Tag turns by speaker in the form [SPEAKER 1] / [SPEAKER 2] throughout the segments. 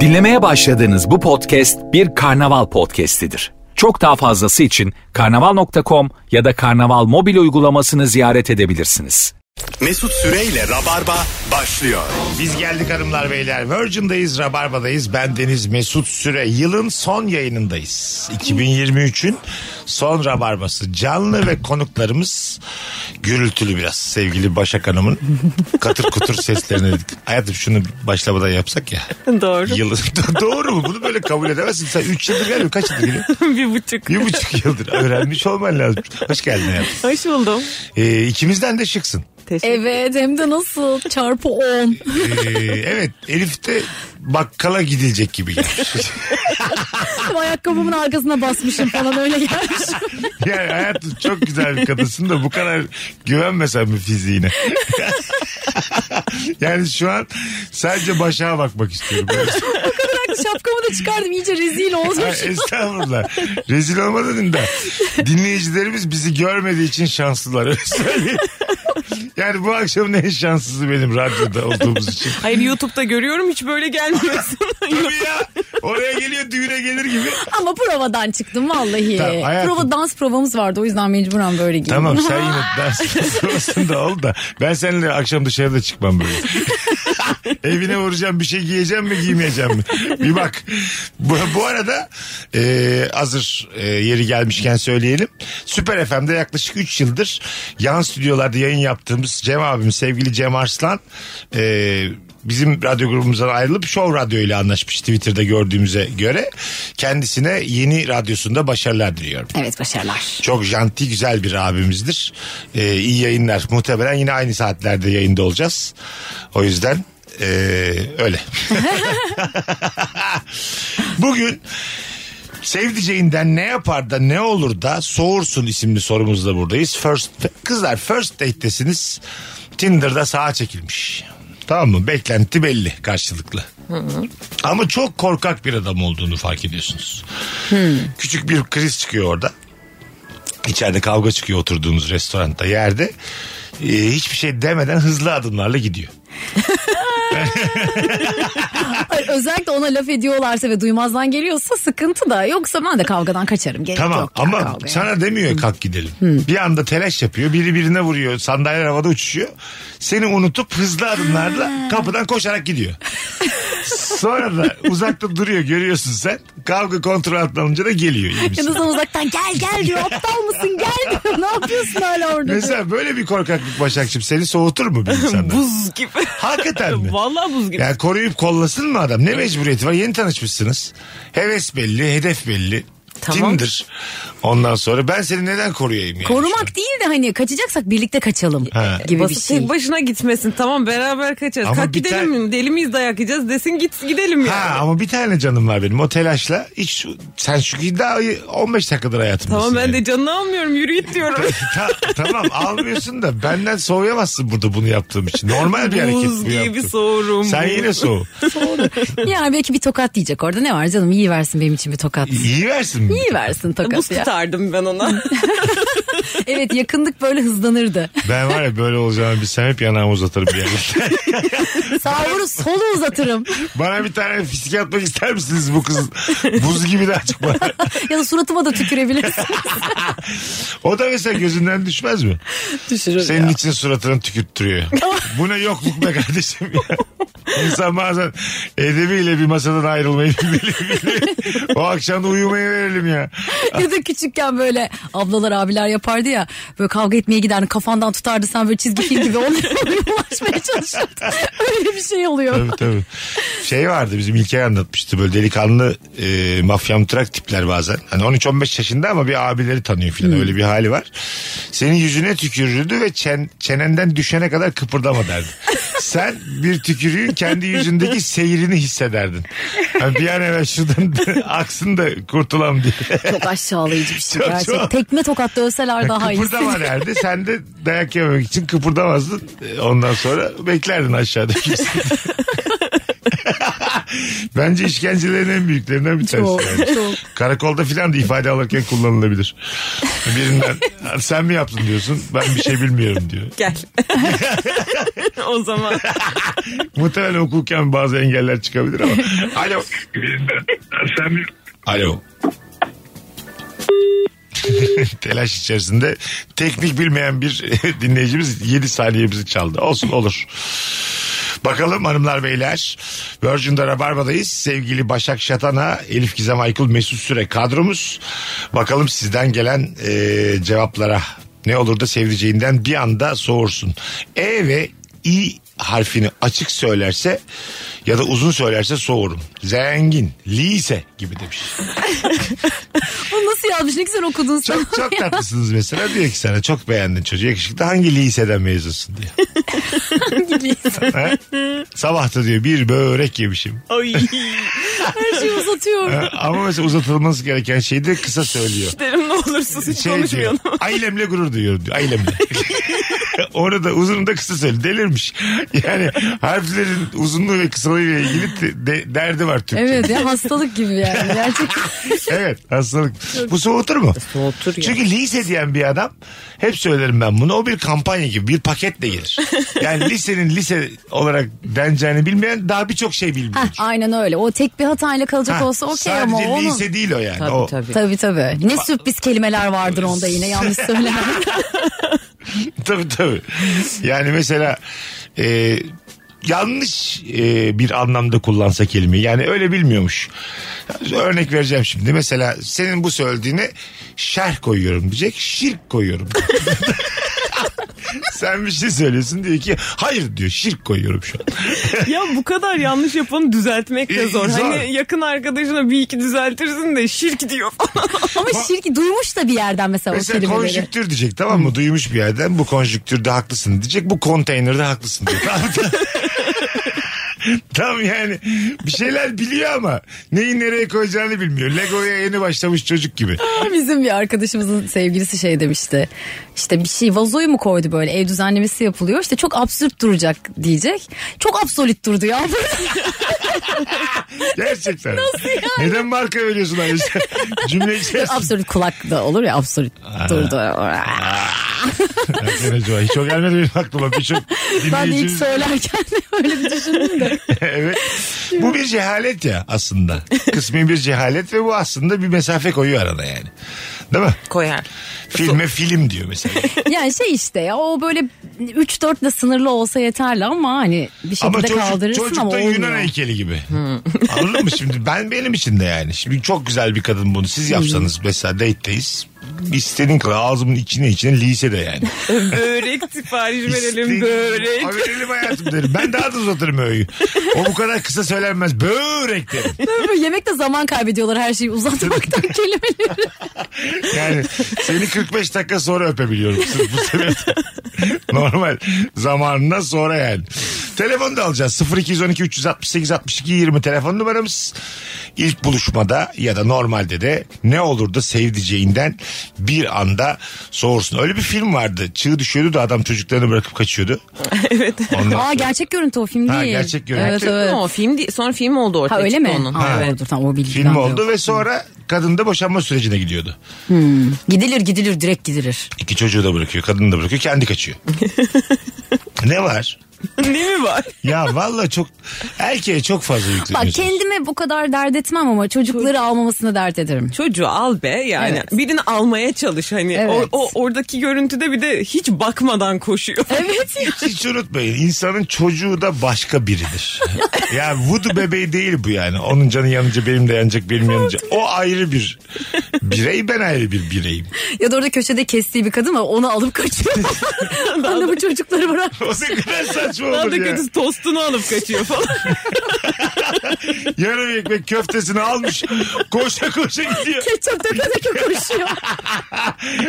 [SPEAKER 1] Dinlemeye başladığınız bu podcast bir karnaval podcastidir. Çok daha fazlası için karnaval.com ya da karnaval mobil uygulamasını ziyaret edebilirsiniz.
[SPEAKER 2] Mesut Süreyle Rabarba başlıyor.
[SPEAKER 3] Biz geldik hanımlar beyler. Virgin'dayız, Rabarba'dayız. Ben Deniz Mesut Süre. Yılın son yayınındayız. 2023'ün son Rabarbası. Canlı ve konuklarımız gürültülü biraz. Sevgili Başak Hanım'ın katır kutur seslerine dedik. Hayatım şunu başlamadan yapsak ya.
[SPEAKER 4] Doğru.
[SPEAKER 3] Yılın... Doğru mu? Bunu böyle kabul edemezsin. Sen 3 yıldır gelmiyor. Kaç yıldır geliyor?
[SPEAKER 4] bir buçuk.
[SPEAKER 3] Bir buçuk yıldır öğrenmiş olman lazım. Hoş geldin hayatım.
[SPEAKER 4] Hoş buldum.
[SPEAKER 3] Ee, ikimizden de şıksın.
[SPEAKER 4] Teşekkür
[SPEAKER 5] Evet hem de nasıl çarpı 10.
[SPEAKER 3] Ee, evet Elif de bakkala gidilecek gibi gelmiş.
[SPEAKER 5] Ayakkabımın arkasına basmışım falan öyle gelmiş.
[SPEAKER 3] Yani hayatım çok güzel bir kadınsın da bu kadar güvenmesen mi fiziğine? yani şu an sadece başa bakmak istiyorum.
[SPEAKER 5] Bıraktı şapkamı da çıkardım iyice rezil
[SPEAKER 3] Ha,
[SPEAKER 5] olmuş.
[SPEAKER 3] Estağfurullah. Rezil olmadın da. Dinleyicilerimiz bizi görmediği için şanslılar. Öyle söyleyeyim. Yani bu akşamın en şanssızı benim radyoda olduğumuz için.
[SPEAKER 4] Hayır YouTube'da görüyorum hiç böyle gelmiyorsun.
[SPEAKER 3] Tabii ya. Oraya geliyor düğüne gelir gibi.
[SPEAKER 5] Ama provadan çıktım vallahi.
[SPEAKER 3] Tamam, hayatım.
[SPEAKER 5] Prova dans provamız vardı o yüzden mecburen böyle giydim.
[SPEAKER 3] Tamam sen yine ders sırasında ol da ben seninle akşam dışarıda çıkmam böyle. Evine vuracağım bir şey giyeceğim mi giymeyeceğim mi? Bir bak. Bu, bu arada e, hazır e, yeri gelmişken söyleyelim. Süper FM'de yaklaşık 3 yıldır yan stüdyolarda yayın yaptığımız Cem abim sevgili Cem Arslan e, bizim radyo grubumuzdan ayrılıp Show Radyo ile anlaşmış Twitter'da gördüğümüze göre kendisine yeni radyosunda başarılar diliyorum.
[SPEAKER 5] Evet başarılar.
[SPEAKER 3] Çok janti güzel bir abimizdir. Ee, iyi yayınlar. Muhtemelen yine aynı saatlerde yayında olacağız. O yüzden ee, öyle. Bugün sevdiceğinden ne yapar da ne olur da soğursun isimli sorumuzla buradayız. First kızlar first date'tesiniz. Tinder'da sağa çekilmiş. Tamam mı? Beklenti belli karşılıklı. Ama çok korkak bir adam olduğunu fark ediyorsunuz. Küçük bir kriz çıkıyor orada. İçeride kavga çıkıyor oturduğumuz restoranda yerde. Ee, hiçbir şey demeden hızlı adımlarla gidiyor.
[SPEAKER 5] E, Ay, Özellikle ona laf ediyorlarsa ve duymazdan geliyorsa sıkıntı da. Yoksa ben de kavgadan kaçarım. Gerek
[SPEAKER 3] tamam
[SPEAKER 5] yok ya
[SPEAKER 3] ama
[SPEAKER 5] kavgaya.
[SPEAKER 3] sana demiyor kalk gidelim. Bir anda telaş yapıyor. Biri birine vuruyor. Sandalyeler havada uçuşuyor. Seni unutup hızlı adımlarla kapıdan koşarak gidiyor. Sonra da uzakta duruyor görüyorsun sen. Kavga kontrol altına alınca da geliyor. iyi misin?
[SPEAKER 5] Ya da sana uzaktan gel gel diyor aptal mısın gel diyor. Ne yapıyorsun hala orada?
[SPEAKER 3] Mesela böyle bir korkaklık Başakçım seni soğutur mu bir insandan?
[SPEAKER 4] buz gibi.
[SPEAKER 3] Hakikaten mi?
[SPEAKER 4] Vallahi buz gibi.
[SPEAKER 3] Yani koruyup kollasın mı adam? Ne mecburiyeti var? Yeni tanışmışsınız. Heves belli, hedef belli.
[SPEAKER 4] Tamam.
[SPEAKER 3] Timdir. Ondan sonra ben seni neden koruyayım yani?
[SPEAKER 5] Korumak değil de hani kaçacaksak birlikte kaçalım
[SPEAKER 3] Ha.
[SPEAKER 5] gibi bir
[SPEAKER 4] Basıp
[SPEAKER 5] şey.
[SPEAKER 4] tek başına gitmesin tamam beraber kaçarız.
[SPEAKER 3] Ama
[SPEAKER 4] Kalk
[SPEAKER 3] bir
[SPEAKER 4] gidelim
[SPEAKER 3] tane-
[SPEAKER 4] mi? Deli miyiz dayak yiyeceğiz desin git gidelim yani.
[SPEAKER 3] Ha ama bir tane canım var benim o telaşla. Hiç, sen çünkü daha 15 dakikadır hayatımdasın.
[SPEAKER 4] Tamam ben
[SPEAKER 3] yani.
[SPEAKER 4] de canını almıyorum yürü git diyorum.
[SPEAKER 3] Ta- tamam almıyorsun da benden soğuyamazsın burada bunu yaptığım için. Normal bir hareket
[SPEAKER 4] Buz
[SPEAKER 3] bu
[SPEAKER 4] gibi
[SPEAKER 3] yaptığım.
[SPEAKER 4] soğurum.
[SPEAKER 3] Sen yine soğuk.
[SPEAKER 5] Yani belki bir tokat diyecek orada. Ne var canım iyi versin benim için bir tokat.
[SPEAKER 3] İyi versin mi?
[SPEAKER 5] İyi versin
[SPEAKER 4] Buz
[SPEAKER 5] tokat ya.
[SPEAKER 4] tutardım ben ona.
[SPEAKER 5] Evet yakındık böyle hızlanırdı.
[SPEAKER 3] Ben var ya böyle olacağını bilsem hep yanağımı uzatırım bir yerlerde.
[SPEAKER 5] Sağ solu uzatırım.
[SPEAKER 3] Bana bir tane fiske atmak ister misiniz bu kız? Buz gibi daha çıkma.
[SPEAKER 5] Ya da suratıma da tükürebilirsin.
[SPEAKER 3] O da mesela gözünden düşmez mi?
[SPEAKER 5] Düşürür
[SPEAKER 3] Senin için suratını tükürttürüyor. Bu ne yokluk be kardeşim ya. İnsan bazen edebiyle bir masadan ayrılmayı bilmeli. o akşam da uyumayı verelim ya.
[SPEAKER 5] Ya da küçükken böyle ablalar abiler yapardı ya. Böyle kavga etmeye giderdi kafandan tutardı sen böyle çizgi film gibi onlara ulaşmaya çalışırdın. Öyle bir şey oluyor.
[SPEAKER 3] Tabii tabii. Şey vardı bizim İlker anlatmıştı böyle delikanlı e, mafyamtırak tipler bazen. Hani 13-15 yaşında ama bir abileri tanıyor filan öyle bir hali var. Senin yüzüne tükürürdü ve çen, çenenden düşene kadar kıpırdama derdi. Sen bir tükürüğün kendi yüzündeki seyrini hissederdin. Hani bir an evvel şuradan aksın da kurtulam diye.
[SPEAKER 5] Çok aşağılayıcı bir şey
[SPEAKER 3] Çok,
[SPEAKER 5] gerçekten.
[SPEAKER 3] çok.
[SPEAKER 5] Tekme tokatla ölseler daha iyi.
[SPEAKER 3] kıpırdama derdi. Sen de E, dayak yememek için kıpırdamazdın. Ondan sonra beklerdin aşağıda kimse. Bence işkencelerin en büyüklerinden bir tanesi.
[SPEAKER 5] Çok,
[SPEAKER 3] yani.
[SPEAKER 5] çok.
[SPEAKER 3] Karakolda filan da ifade alırken kullanılabilir. Birinden sen mi yaptın diyorsun ben bir şey bilmiyorum diyor.
[SPEAKER 4] Gel. o zaman.
[SPEAKER 3] Muhtemelen hukuken bazı engeller çıkabilir ama. Alo. Sen mi? Alo. Telaş içerisinde teknik bilmeyen bir dinleyicimiz 7 saniyemizi çaldı. Olsun olur. Bakalım hanımlar beyler. Virgin'de Rabarba'dayız. Sevgili Başak Şatan'a, Elif Gizem Aykul, Mesut Süre kadromuz. Bakalım sizden gelen e, cevaplara. Ne olur da sevdiceğinden bir anda soğursun. E ve İ harfini açık söylerse ya da uzun söylerse soğurum. Zengin, lise gibi demiş.
[SPEAKER 5] Bu nasıl yazmış ne güzel okudun sen.
[SPEAKER 3] Çok, çok tatlısınız mesela. Diyor ki sana çok beğendin çocuğu yakışıklı. Hangi liseden mezunsun diyor. Ha? Sabahta diyor bir börek yemişim.
[SPEAKER 4] Ay.
[SPEAKER 5] Her şeyi uzatıyor.
[SPEAKER 3] Ha, Ama mesela uzatılması gereken şeyi de kısa söylüyor.
[SPEAKER 4] Derim ne olursun hiç
[SPEAKER 3] Şey diyor,
[SPEAKER 4] konuşmayalım.
[SPEAKER 3] ailemle gurur duyuyorum diyor. Ailemle. Onu da uzun da kısa söyle. Delirmiş. Yani harflerin uzunluğu ve kısalığıyla ilgili de- de- derdi var Türkçe.
[SPEAKER 5] Evet ya hastalık gibi yani gerçekten.
[SPEAKER 3] evet hastalık. Bu soğutur mu?
[SPEAKER 4] Soğutur ya.
[SPEAKER 3] Çünkü lise diyen bir adam hep söylerim ben bunu o bir kampanya gibi bir paketle gelir. Yani lisenin lise olarak deneceğini bilmeyen daha birçok şey bilmiyor.
[SPEAKER 5] Heh, aynen öyle o tek bir hatayla kalacak
[SPEAKER 3] Ha,
[SPEAKER 5] olsa okey ama
[SPEAKER 3] Sadece
[SPEAKER 5] onun.
[SPEAKER 3] lise değil o yani.
[SPEAKER 4] Tabii
[SPEAKER 3] o,
[SPEAKER 4] tabii.
[SPEAKER 5] Tabii tabii. Ne sürpriz kelimeler vardır onda yine yanlış söylemem.
[SPEAKER 3] tabii tabii. Yani mesela e, yanlış e, bir anlamda kullansa kelimeyi. Yani öyle bilmiyormuş. Örnek vereceğim şimdi. Mesela senin bu söylediğine şerh koyuyorum diyecek. Şirk koyuyorum. Sen bir şey söylüyorsun diyor ki hayır diyor şirk koyuyorum şu an.
[SPEAKER 4] Ya bu kadar yanlış yapanı düzeltmek de
[SPEAKER 3] Ee,
[SPEAKER 4] zor.
[SPEAKER 3] zor.
[SPEAKER 4] Hani yakın arkadaşına bir iki düzeltirsin de şirk diyor falan.
[SPEAKER 5] ama şirki duymuş da bir yerden mesela, o
[SPEAKER 3] Mesela
[SPEAKER 5] kelimeleri.
[SPEAKER 3] konjüktür diyecek tamam mı? Duymuş bir yerden bu konjüktürde haklısın diyecek. Bu konteynerde haklısın diyor. Tamam. Tam yani bir şeyler biliyor ama neyi nereye koyacağını bilmiyor. Lego'ya yeni başlamış çocuk gibi.
[SPEAKER 5] Bizim bir arkadaşımızın sevgilisi şey demişti. İşte bir şey vazoyu mu koydu böyle ev düzenlemesi yapılıyor. İşte çok absürt duracak diyecek. Çok absolut durdu ya.
[SPEAKER 3] Gerçekten. Neden marka veriyorsun abi? Cümle içerisinde.
[SPEAKER 5] absürt kulak da olur ya absürt durdu.
[SPEAKER 3] Hakikaten acaba Hiç o gelmedi benim aklıma. Birçok
[SPEAKER 5] Ben de ilk
[SPEAKER 3] dinleyicimiz.
[SPEAKER 5] söylerken de öyle bir düşündüm de.
[SPEAKER 3] evet. Bu bir cehalet ya aslında. Kısmi bir cehalet ve bu aslında bir mesafe koyuyor arada yani. Değil mi?
[SPEAKER 4] Koyar.
[SPEAKER 3] Filme film diyor mesela.
[SPEAKER 5] Yani şey işte ya o böyle 3-4 ile sınırlı olsa yeterli ama hani bir şekilde
[SPEAKER 3] Ama çocuk,
[SPEAKER 5] kaldırırsın
[SPEAKER 3] çocuk
[SPEAKER 5] ama
[SPEAKER 3] da
[SPEAKER 5] olmuyor.
[SPEAKER 3] Yunan heykeli gibi. Anladın mı şimdi? Ben benim için de yani. Şimdi çok güzel bir kadın bunu. Siz yapsanız mesela date'teyiz. İstediğin kadar ağzımın içine içine lisede yani.
[SPEAKER 4] Börek sipariş verelim
[SPEAKER 3] İstediğin-
[SPEAKER 4] börek.
[SPEAKER 3] Abi verelim hayatım derim. Ben daha da uzatırım öğüyü. O bu kadar kısa söylenmez. Börek derim.
[SPEAKER 5] Böyle Yemekte zaman kaybediyorlar her şeyi uzatmaktan kelimeleri.
[SPEAKER 3] Yani seni 45 dakika sonra öpebiliyorum. Sırf bu sebepten. Normal zamanından sonra yani. Telefonu da alacağız. 0212 368 62 20 telefon numaramız. İlk buluşmada ya da normalde de ne olur da sevdiceğinden bir anda soğursun. Öyle bir film vardı. Çığ düşüyordu da adam çocuklarını bırakıp kaçıyordu.
[SPEAKER 4] Evet.
[SPEAKER 3] Ondan
[SPEAKER 5] Aa
[SPEAKER 3] sonra-
[SPEAKER 5] gerçek görüntü o film değil.
[SPEAKER 3] Ha, gerçek görüntü.
[SPEAKER 5] Evet evet.
[SPEAKER 4] Ama o film değil, sonra film oldu ortaya
[SPEAKER 5] Ha öyle
[SPEAKER 4] çıktı
[SPEAKER 5] mi?
[SPEAKER 4] onun.
[SPEAKER 5] Ha,
[SPEAKER 4] Evet.
[SPEAKER 5] doğrudur, tamam, o bilgi
[SPEAKER 3] Film
[SPEAKER 5] bende
[SPEAKER 3] oldu
[SPEAKER 5] yok.
[SPEAKER 3] ve sonra kadın da boşanma sürecine gidiyordu.
[SPEAKER 5] Gidilir gidilir direkt gidilir.
[SPEAKER 3] İki çocuğu da bırakıyor, kadını da bırakıyor, kendi kaçıyor. ne var?
[SPEAKER 4] ne mi var?
[SPEAKER 3] Ya valla çok erkeğe çok fazla
[SPEAKER 5] Bak
[SPEAKER 3] yükleniyorsun.
[SPEAKER 5] kendime bu kadar dert etmem ama çocukları almamasına dert ederim.
[SPEAKER 4] Çocuğu al be yani.
[SPEAKER 5] Evet.
[SPEAKER 4] Birini almaya çalış hani.
[SPEAKER 5] Evet.
[SPEAKER 4] O, o oradaki görüntüde bir de hiç bakmadan koşuyor.
[SPEAKER 5] Evet.
[SPEAKER 3] Hiç unutmayın insanın çocuğu da başka biridir. ya voodoo bebeği değil bu yani. Onun canı yanınca benim de yanacak benim yanınca. O ayrı bir birey ben ayrı bir bireyim.
[SPEAKER 5] ya da orada köşede kestiği bir kadın var onu alıp kaçıyor. Anne bu çocukları bırak.
[SPEAKER 3] O ne kadar saçma
[SPEAKER 4] Daha da
[SPEAKER 3] olur ya.
[SPEAKER 4] kötüsü tostunu alıp kaçıyor falan.
[SPEAKER 3] Yarım ekmek köftesini almış koşa koşa gidiyor.
[SPEAKER 5] Ketçap döke döke koşuyor.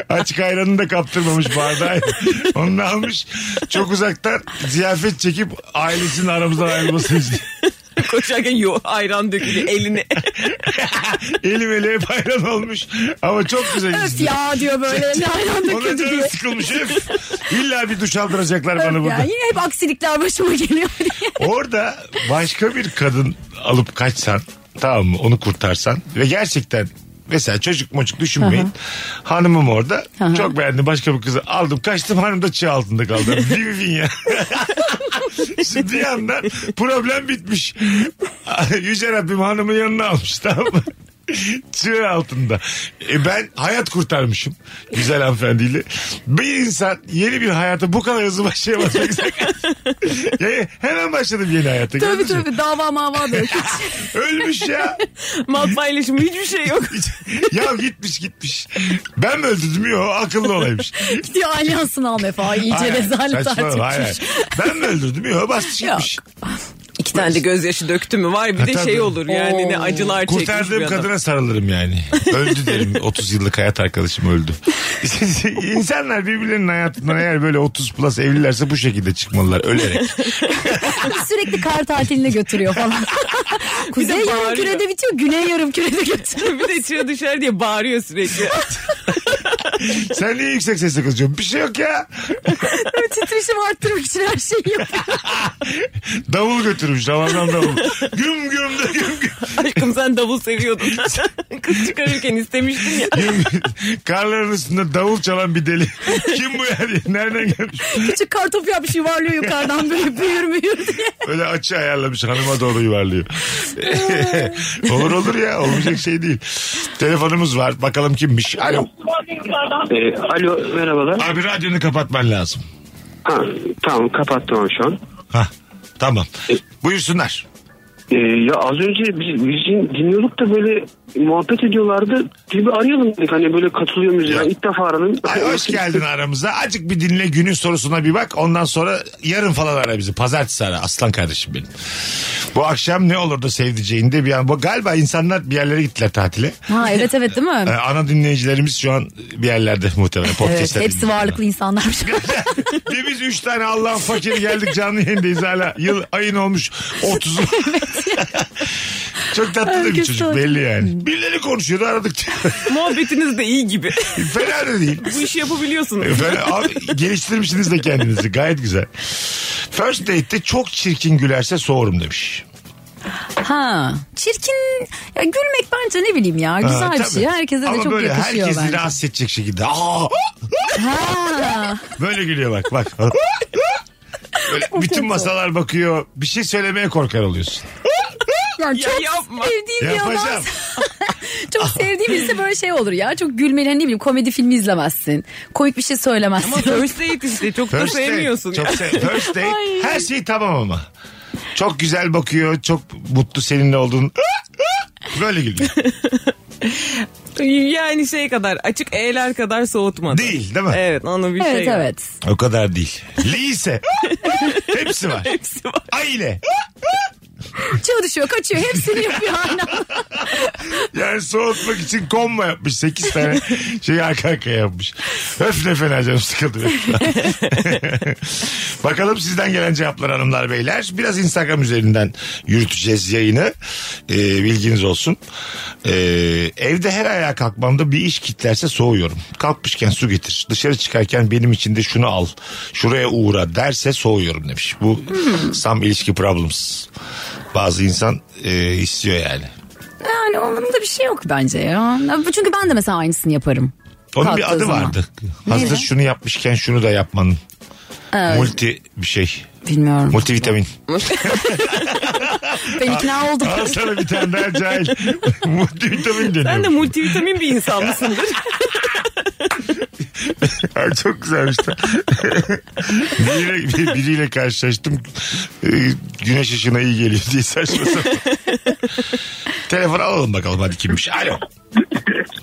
[SPEAKER 3] Açık ayranını da kaptırmamış bardağı. Onu da almış çok uzaktan ziyafet çekip ailesinin aramızdan ayrılmasını istiyor.
[SPEAKER 4] Koşarken yo ayran dökülüyor eline.
[SPEAKER 3] Elim ele hep ayran olmuş ama çok güzel
[SPEAKER 5] Öf
[SPEAKER 3] izliyor.
[SPEAKER 5] ya diyor böyle. Ne ayran
[SPEAKER 3] Ona
[SPEAKER 5] döküldü
[SPEAKER 3] canım
[SPEAKER 5] diye.
[SPEAKER 3] sıkılmış herif. İlla bir duş aldıracaklar bana
[SPEAKER 5] Öf ya,
[SPEAKER 3] burada.
[SPEAKER 5] yine hep aksilikler başıma geliyor diye.
[SPEAKER 3] Orada başka bir kadın alıp kaçsan tamam mı onu kurtarsan ve gerçekten mesela çocuk moçuk düşünmeyin. Hanımım orada. Çok beğendim başka bir kızı aldım kaçtım hanım da çığ altında kaldı. Bin bin ya. Şimdi yandan problem bitmiş. Yüce Rabbim hanımın yanına almış tamam mı? Çığ altında. E ben hayat kurtarmışım güzel hanımefendiyle. Bir insan yeni bir hayata bu kadar hızlı başlayamaz. mı? yani hemen başladım yeni hayata.
[SPEAKER 5] Tövbe
[SPEAKER 3] gördünüz mü?
[SPEAKER 5] tövbe dava mava böyle.
[SPEAKER 3] Ölmüş ya.
[SPEAKER 4] Mal paylaşımı hiçbir şey yok.
[SPEAKER 3] ya gitmiş gitmiş. Ben mi öldürdüm? Yok akıllı olaymış.
[SPEAKER 5] Gidiyor alyansını almaya falan. İyice rezalet
[SPEAKER 3] saçmalama, hayır,
[SPEAKER 5] artık.
[SPEAKER 3] hayır. Ben mi öldürdüm? Yok basmış
[SPEAKER 5] Yok.
[SPEAKER 3] gitmiş.
[SPEAKER 4] İki tane de gözyaşı döktü mü var bir de
[SPEAKER 3] Ha, tabii.
[SPEAKER 4] şey olur yani ne acılar çekmiş bir
[SPEAKER 3] Kurtardığım
[SPEAKER 4] Şey, adam.
[SPEAKER 3] kadına sarılırım yani. Öldü derim. 30 yıllık hayat arkadaşım öldü. İnsanlar birbirlerinin hayatından eğer böyle 30 plus evlilerse bu şekilde çıkmalılar ölerek.
[SPEAKER 5] Sürekli kar tatiline götürüyor falan. Kuzey yarım
[SPEAKER 4] bağırıyor.
[SPEAKER 5] kürede bitiyor. Güney yarım kürede götürüyor.
[SPEAKER 4] bir de içine düşer diye bağırıyor sürekli.
[SPEAKER 3] Sen niye yüksek sesle konuşuyorsun? Bir şey yok ya.
[SPEAKER 5] Titreşimi arttırmak için her şeyi yapıyor.
[SPEAKER 3] Davul götürmüş. Ramazan davul. Güm güm de güm güm.
[SPEAKER 4] Aşkım sen davul seviyordun. Kız çıkarırken istemiştin ya.
[SPEAKER 3] Güm güm. Karların üstünde davul çalan bir deli. Kim bu yani? Nereden gelmiş?
[SPEAKER 5] Küçük kartopu yapmış yuvarlıyor yukarıdan böyle büyür müyür diye.
[SPEAKER 3] Öyle açı ayarlamış hanıma doğru yuvarlıyor. olur olur ya olmayacak şey değil. Telefonumuz var bakalım kimmiş. Alo
[SPEAKER 6] Ee, alo merhabalar.
[SPEAKER 3] abi radyonu kapatman lazım.
[SPEAKER 6] Ha, tamam kapattım abi şu an.
[SPEAKER 3] Hah tamam. Buyursunlar.
[SPEAKER 6] Ee, ya az önce biz, biz dinliyorduk da böyle muhabbet ediyorlardı. Biz bir arayalım dedik hani böyle katılıyor muyuz?
[SPEAKER 3] Ya.
[SPEAKER 6] Ben ilk defa aradım.
[SPEAKER 3] Ay, hoş geldin aramıza. Acık bir dinle günün sorusuna bir bak. Ondan sonra yarın falan ara bizi. Pazartesi ara. Aslan kardeşim benim. Bu akşam ne olur da sevdiceğinde bir an. Bu, galiba insanlar bir yerlere gittiler tatile.
[SPEAKER 5] Ha evet evet değil mi?
[SPEAKER 3] Ee, ana dinleyicilerimiz şu an bir yerlerde muhtemelen.
[SPEAKER 5] Evet,
[SPEAKER 3] podcast'ler
[SPEAKER 5] hepsi
[SPEAKER 3] dinliyorlar.
[SPEAKER 5] varlıklı insanlarmış.
[SPEAKER 3] Ve biz 3 tane Allah'ın fakiri geldik canlı yayındayız hala. Yıl ayın olmuş 30. Çok tatlı da bir
[SPEAKER 5] Herkes Hmm.
[SPEAKER 3] çocuk
[SPEAKER 5] tatlı.
[SPEAKER 3] belli yani. Birileri konuşuyordu aradık.
[SPEAKER 4] Muhabbetiniz de iyi gibi.
[SPEAKER 3] Fena da değil.
[SPEAKER 4] Bu işi yapabiliyorsunuz.
[SPEAKER 3] Fena, abi, geliştirmişsiniz de kendinizi gayet güzel. First date'te çok çirkin gülerse soğurum demiş.
[SPEAKER 5] Ha. Çirkin ya gülmek bence ne bileyim ya
[SPEAKER 3] Ha,
[SPEAKER 5] güzel bir
[SPEAKER 3] tabii.
[SPEAKER 5] şey. Herkese de
[SPEAKER 3] Ama
[SPEAKER 5] çok
[SPEAKER 3] böyle
[SPEAKER 5] yakışıyor
[SPEAKER 3] herkesi
[SPEAKER 5] bence.
[SPEAKER 3] rahatsız edecek şekilde. Aa! böyle gülüyor bak bak. Böyle bütün masalar bakıyor. Bir şey söylemeye korkar oluyorsun.
[SPEAKER 5] Yani
[SPEAKER 4] Ya
[SPEAKER 5] çok
[SPEAKER 4] yapma.
[SPEAKER 5] sevdiğim bir adam.
[SPEAKER 3] Yapacağım.
[SPEAKER 5] Çok sevdiğim birisi böyle şey olur ya. Çok gülmeli hani ne bileyim komedi filmi izlemezsin. Komik bir şey söylemezsin.
[SPEAKER 4] Ama first date işte çok da
[SPEAKER 3] First date,
[SPEAKER 4] sevmiyorsun.
[SPEAKER 3] Çok
[SPEAKER 4] ya.
[SPEAKER 3] sev- first date
[SPEAKER 5] Ay.
[SPEAKER 3] her şey tamam ama. Çok güzel bakıyor. Çok mutlu seninle olduğun. Böyle gülüyor.
[SPEAKER 4] Yani şey kadar açık eğler kadar soğutmadı.
[SPEAKER 3] Değil değil mi?
[SPEAKER 4] Evet onu bir şey.
[SPEAKER 5] evet
[SPEAKER 4] yok.
[SPEAKER 5] evet.
[SPEAKER 3] O kadar değil. Lise. Hepsi var.
[SPEAKER 4] Hepsi var.
[SPEAKER 3] Aile.
[SPEAKER 5] Çığ düşüyor kaçıyor hepsini yapıyor aynı anda.
[SPEAKER 3] Yani soğutmak için komba yapmış. 8 tane şey arka arkaya yapmış. Öf ne fena canım sıkıldı. benim. Bakalım sizden gelen cevaplar hanımlar beyler. Biraz Instagram üzerinden yürüteceğiz yayını. Ee, bilginiz olsun. Ee, evde her ayağa kalkmamda bir iş kitlerse soğuyorum. Kalkmışken su getir. Dışarı çıkarken benim için de şunu al. Şuraya uğra derse soğuyorum demiş. Bu some ilişki problems. Bazı insan e, istiyor yani.
[SPEAKER 5] Yani onun da bir şey yok bence ya. Çünkü ben de mesela aynısını yaparım.
[SPEAKER 3] Onun bir
[SPEAKER 5] Kalktığı
[SPEAKER 3] adı
[SPEAKER 5] zaman.
[SPEAKER 3] vardı. Hazır
[SPEAKER 5] Neydi?
[SPEAKER 3] şunu yapmışken şunu da yapmanın. Multi bir şey.
[SPEAKER 5] Bilmiyorum.
[SPEAKER 3] Multivitamin.
[SPEAKER 5] Ben ikna oldum.
[SPEAKER 3] Al sana bir tane daha cahil. Multivitamin deniyor.
[SPEAKER 4] Sen de multivitamin bir insan mısındır?
[SPEAKER 3] Ay, Çok güzelmiş. de. biriyle, bir- biriyle karşılaştım. Ee, Güneş ışığına iyi geliyor diye saçma sapan. Telefon alalım bakalım hadi kimmiş. Alo.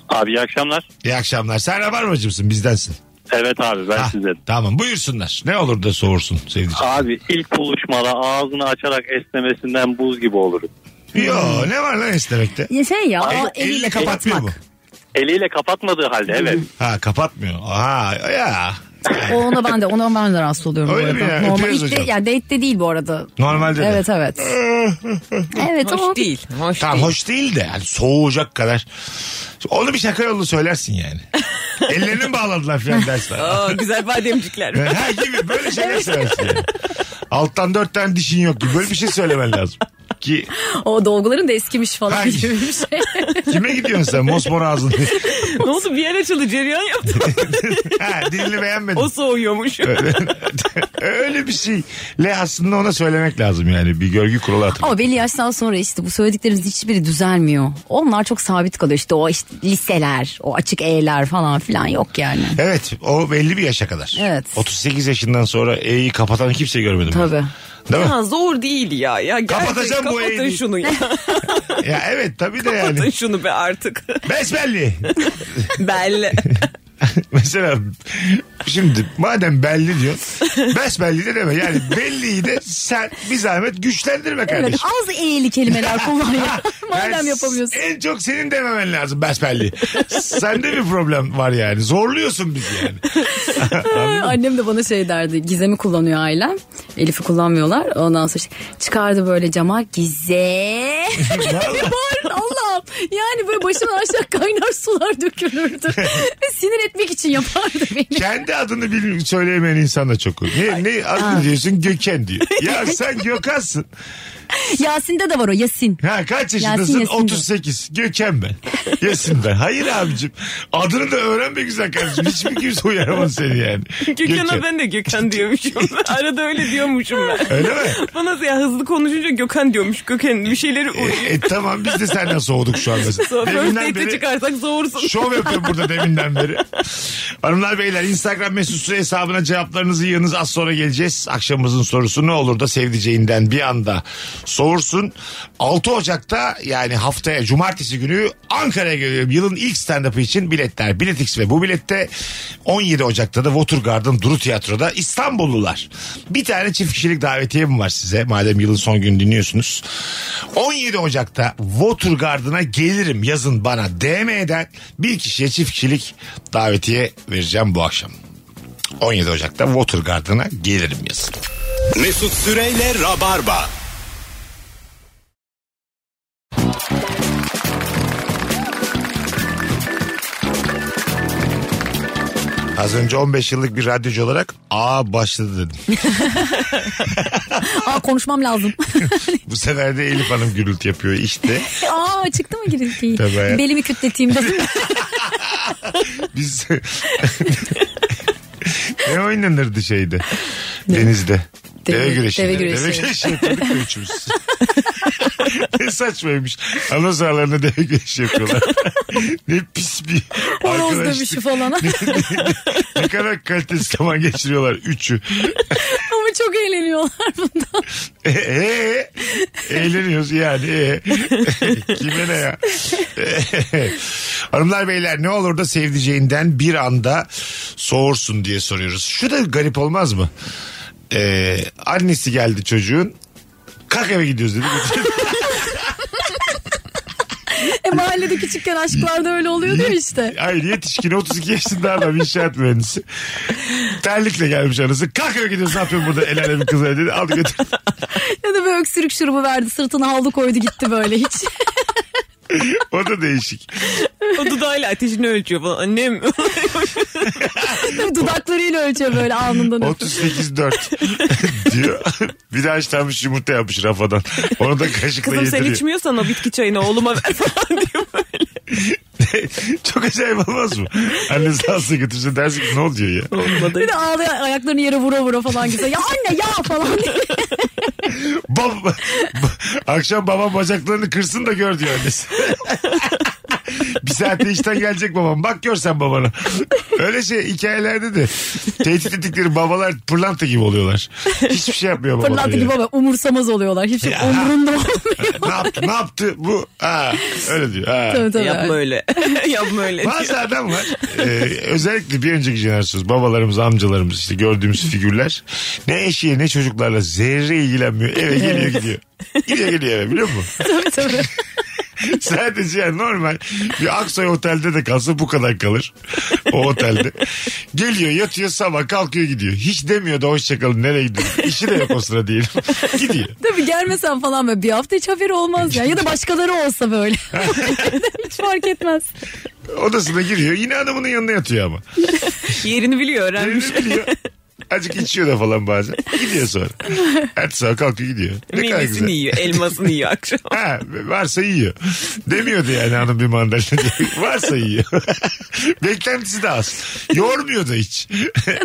[SPEAKER 7] Abi iyi akşamlar.
[SPEAKER 3] İyi akşamlar. Sen Rabarbacımsın bizdensin.
[SPEAKER 7] Evet abi ben
[SPEAKER 3] Hah,
[SPEAKER 7] size.
[SPEAKER 3] tamam buyursunlar. Ne olur da soğursun sevdiceğim.
[SPEAKER 7] Abi ilk buluşmada ağzını açarak esnemesinden buz gibi olurum.
[SPEAKER 3] Yo ne var lan istemekte?
[SPEAKER 5] Ya Şey ya o
[SPEAKER 3] El-
[SPEAKER 5] eliyle
[SPEAKER 3] kapatmıyor
[SPEAKER 5] kapatmak.
[SPEAKER 3] mu?
[SPEAKER 7] Eliyle kapatmadığı halde evet.
[SPEAKER 3] Ha kapatmıyor. Ha ya.
[SPEAKER 5] O ona ben de ona ben de rahatsız oluyorum
[SPEAKER 3] Öyle
[SPEAKER 5] bu
[SPEAKER 3] mi ya?
[SPEAKER 5] arada. Normal
[SPEAKER 3] Öpüyoruz
[SPEAKER 5] ilk de,
[SPEAKER 3] hocam.
[SPEAKER 5] yani date de değil bu arada.
[SPEAKER 3] Normalde de.
[SPEAKER 5] Evet evet. evet ama
[SPEAKER 4] Hoş değil. Hoş
[SPEAKER 3] Tamam
[SPEAKER 4] değil.
[SPEAKER 3] hoş değil de yani soğuyacak kadar. Onu bir şaka yollu söylersin yani. Ellerini mi bağladılar falan dersin.
[SPEAKER 4] Aa, güzel bademcikler.
[SPEAKER 3] ha gibi böyle şeyler söylersin yani. Alttan dört tane dişin yok gibi. Böyle bir şey söylemen lazım. Ki
[SPEAKER 5] O dolguların da eskimiş falan
[SPEAKER 3] Hangi?
[SPEAKER 5] gibi bir şey.
[SPEAKER 3] kime gidiyorsun sen mosmor ağzın?
[SPEAKER 4] ne oldu bir yer açıldı cereyan yaptı.
[SPEAKER 3] ha, dilini beğenmedim.
[SPEAKER 4] O soğuyormuş.
[SPEAKER 3] Öyle bir şey. Le aslında ona söylemek lazım yani. Bir görgü kuralı hatırlat.
[SPEAKER 5] Ama belli yaştan sonra işte bu söylediklerimiz hiçbiri düzelmiyor. Onlar çok sabit kalıyor işte o işte liseler, o açık E'ler falan filan yok yani.
[SPEAKER 3] Evet o belli bir yaşa kadar.
[SPEAKER 5] Evet.
[SPEAKER 3] 38 yaşından sonra E'yi kapatan kimse görmedim. ben.
[SPEAKER 5] Tabii.
[SPEAKER 3] Değil mi?
[SPEAKER 4] Ha, zor değil ya. ya gerçek,
[SPEAKER 3] Kapatacağım bu
[SPEAKER 4] kapatın
[SPEAKER 3] eğri.
[SPEAKER 4] şunu ya.
[SPEAKER 3] Ya evet tabii de
[SPEAKER 4] Kapatın
[SPEAKER 3] yani.
[SPEAKER 4] şunu be artık.
[SPEAKER 3] Besbelli.
[SPEAKER 4] Belli.
[SPEAKER 3] Mesela şimdi madem belli diyorsun. Besbelli de deme. Yani belliyi de sen bir zahmet güçlendirme
[SPEAKER 5] Evet,
[SPEAKER 3] kardeşim.
[SPEAKER 5] az E'li kelimeler kullan ya.
[SPEAKER 3] Ben
[SPEAKER 5] Madem yapamıyorsun.
[SPEAKER 3] En çok senin dememen lazım besbelli. Sende bir problem var yani. Zorluyorsun bizi yani.
[SPEAKER 5] Annem de bana şey derdi. Gizem'i kullanıyor ailem. Elif'i kullanmıyorlar. Ondan sonra işte çıkardı böyle cama. Gizem.
[SPEAKER 3] Vallahi.
[SPEAKER 5] Bağırın Allah'ım. Yani böyle başımdan aşağı kaynar sular dökülürdü. Ve sinir etmek için yapardı beni.
[SPEAKER 3] Kendi adını bil, söyleyemeyen insan da çok. Ne, ne adını diyorsun? Göken diyor. Ya sen Gökhan'sın.
[SPEAKER 5] Yasin'de de var o Yasin.
[SPEAKER 3] Ha kaç yaşındasın?
[SPEAKER 5] Yasin, Yasin.
[SPEAKER 3] 38. Gökhan ben. Yasin ben. Hayır abicim. Adını da öğren be güzel kardeşim. Hiçbir kimse uyaramaz seni yani.
[SPEAKER 4] Gökhan'a
[SPEAKER 3] Gökhan.
[SPEAKER 4] ben de Gökhan diyormuşum. Arada öyle diyormuşum ben.
[SPEAKER 3] Öyle mi?
[SPEAKER 4] Bana ya hızlı konuşunca Gökhan diyormuş. Gökhan bir şeyleri
[SPEAKER 3] E, e, tamam biz de senden soğuduk şu an mesela.
[SPEAKER 4] First
[SPEAKER 3] Deminden
[SPEAKER 4] date'de
[SPEAKER 3] beri
[SPEAKER 4] çıkarsak soğursun.
[SPEAKER 3] şov yapıyorum burada deminden beri. Hanımlar beyler Instagram mesut süre hesabına cevaplarınızı yığınız az sonra geleceğiz. Akşamımızın sorusu ne olur da sevdiceğinden bir anda soğursun. 6 Ocak'ta yani haftaya cumartesi günü Ankara'ya geliyorum. Yılın ilk stand-up'ı için biletler Biletix ve bu bilette 17 Ocak'ta da Watergarden Duru Tiyatro'da İstanbullular. Bir tane çift kişilik davetiyem var size. Madem yılın son günü dinliyorsunuz. 17 Ocak'ta Watergarden'a gelirim yazın bana DM'den bir kişiye çift kişilik davetiye vereceğim bu akşam. 17 Ocak'ta Watergarden'a gelirim yazın.
[SPEAKER 2] Mesut Süreyle Rabarba.
[SPEAKER 3] Az önce 15 yıllık bir radyocu olarak a başladı dedim.
[SPEAKER 5] Aa konuşmam lazım.
[SPEAKER 3] Bu sefer de Elif Hanım gürültü yapıyor işte.
[SPEAKER 5] Aa çıktı mı girinti?
[SPEAKER 3] Tabii ya.
[SPEAKER 5] Belimi kütleteyim dedim.
[SPEAKER 3] Biz ne oynanırdı şeyde? Denizde. Deve,
[SPEAKER 5] Deve-
[SPEAKER 3] güreşi. Deve
[SPEAKER 5] deve
[SPEAKER 3] güreşi.
[SPEAKER 5] güreşi.
[SPEAKER 3] Deve güreşi yapıyorduk da üçümüz. ne saçmaymış. Ana sahalarında deve güreşi yapıyorlar. ne pis bir
[SPEAKER 5] Horoz dövüşü
[SPEAKER 3] arkadaşlık.
[SPEAKER 5] falan.
[SPEAKER 3] Ne kadar kalitesiz zaman geçiriyorlar üçü.
[SPEAKER 5] Ama çok eğleniyorlar bundan.
[SPEAKER 3] E, e, e. eğleniyoruz yani. E. Kime ne ya? E, e. Hanımlar beyler ne olur da sevdiceğinden bir anda soğursun diye soruyoruz. Şu da garip olmaz mı? E, annesi geldi çocuğun. Kalk eve gidiyoruz dedi.
[SPEAKER 5] E mahallede küçükken aşklarda öyle oluyordu ya işte.
[SPEAKER 3] Hayır yetişkin 32 yaşında adam inşaat mühendisi. Terlikle gelmiş anası. Kalk eve gidiyoruz ne yapıyorsun burada el alemin kızı dedi. Al götür.
[SPEAKER 5] Ya da böyle öksürük şurubu verdi sırtına havlu koydu gitti böyle hiç.
[SPEAKER 3] O da değişik.
[SPEAKER 4] O dudağıyla ateşini ölçüyor falan. Annem
[SPEAKER 5] Dudaklarıyla ölçüyor böyle alnından öpüyor.
[SPEAKER 3] 38 4 diyor. Bir de haşlanmış yumurta yapmış rafadan. Onu da kaşıkla
[SPEAKER 4] kızım sen
[SPEAKER 3] yediriyor.
[SPEAKER 4] içmiyorsan o bitki çayını oğluma ver falan diyor.
[SPEAKER 3] Çok acayip olmaz mı? Annesi alsa götürse dersin ki ne oluyor ya?
[SPEAKER 4] Olmadı.
[SPEAKER 5] Bir de ağlayan ayaklarını yere vura vura falan güzel. Ya anne ya falan diye.
[SPEAKER 3] Bab- ba- akşam babam bacaklarını kırsın da gör diyor annesi. bir saatte işten gelecek babam. Bak görsen babana. Öyle şey hikayelerde de tehdit ettikleri babalar pırlanta gibi oluyorlar. Hiçbir şey yapmıyor babalar.
[SPEAKER 5] Fırlattı
[SPEAKER 3] ya.
[SPEAKER 5] gibi ama umursamaz oluyorlar. Hiç şey
[SPEAKER 3] Ya.
[SPEAKER 5] umurunda olmuyor.
[SPEAKER 3] ne yaptı? Ne yaptı? Bu ha, öyle diyor. Ha.
[SPEAKER 5] Tabii, tabii.
[SPEAKER 4] Yapma öyle. Yapma öyle. diyor.
[SPEAKER 3] Bazı adam var. Ee, özellikle bir önceki jenerasyonuz babalarımız, amcalarımız işte gördüğümüz figürler ne eşiyle ne çocuklarla zerre ilgilenmiyor. Eve geliyor gidiyor. Gidiyor geliyor eve biliyor musun?
[SPEAKER 5] Tabii, tabii.
[SPEAKER 3] Sadece yani normal bir Aksoy otelde de kalsa bu kadar kalır. O otelde. Geliyor yatıyor sabah kalkıyor gidiyor. Hiç demiyor da hoşçakalın nereye gidiyor. İşi de yok o sıra diyelim. gidiyor.
[SPEAKER 5] Tabii gelmesen falan böyle bir hafta hiç haberi olmaz ya. Ya da başkaları olsa böyle. hiç fark etmez.
[SPEAKER 3] Odasına giriyor. Yine adamının yanına yatıyor ama.
[SPEAKER 4] Yerini biliyor öğrenmiş.
[SPEAKER 3] Yerini biliyor. Azıcık içiyor da falan bazen. Gidiyor sonra. Hadi sonra kalkıyor gidiyor. Ne kadar
[SPEAKER 4] Meyvesini
[SPEAKER 3] güzel.
[SPEAKER 4] yiyor, elmasını yiyor akşam.
[SPEAKER 3] Ha, varsa yiyor. Demiyordu yani hanım bir mandalina. diye. varsa yiyor. Beklentisi de az. Yormuyor da hiç.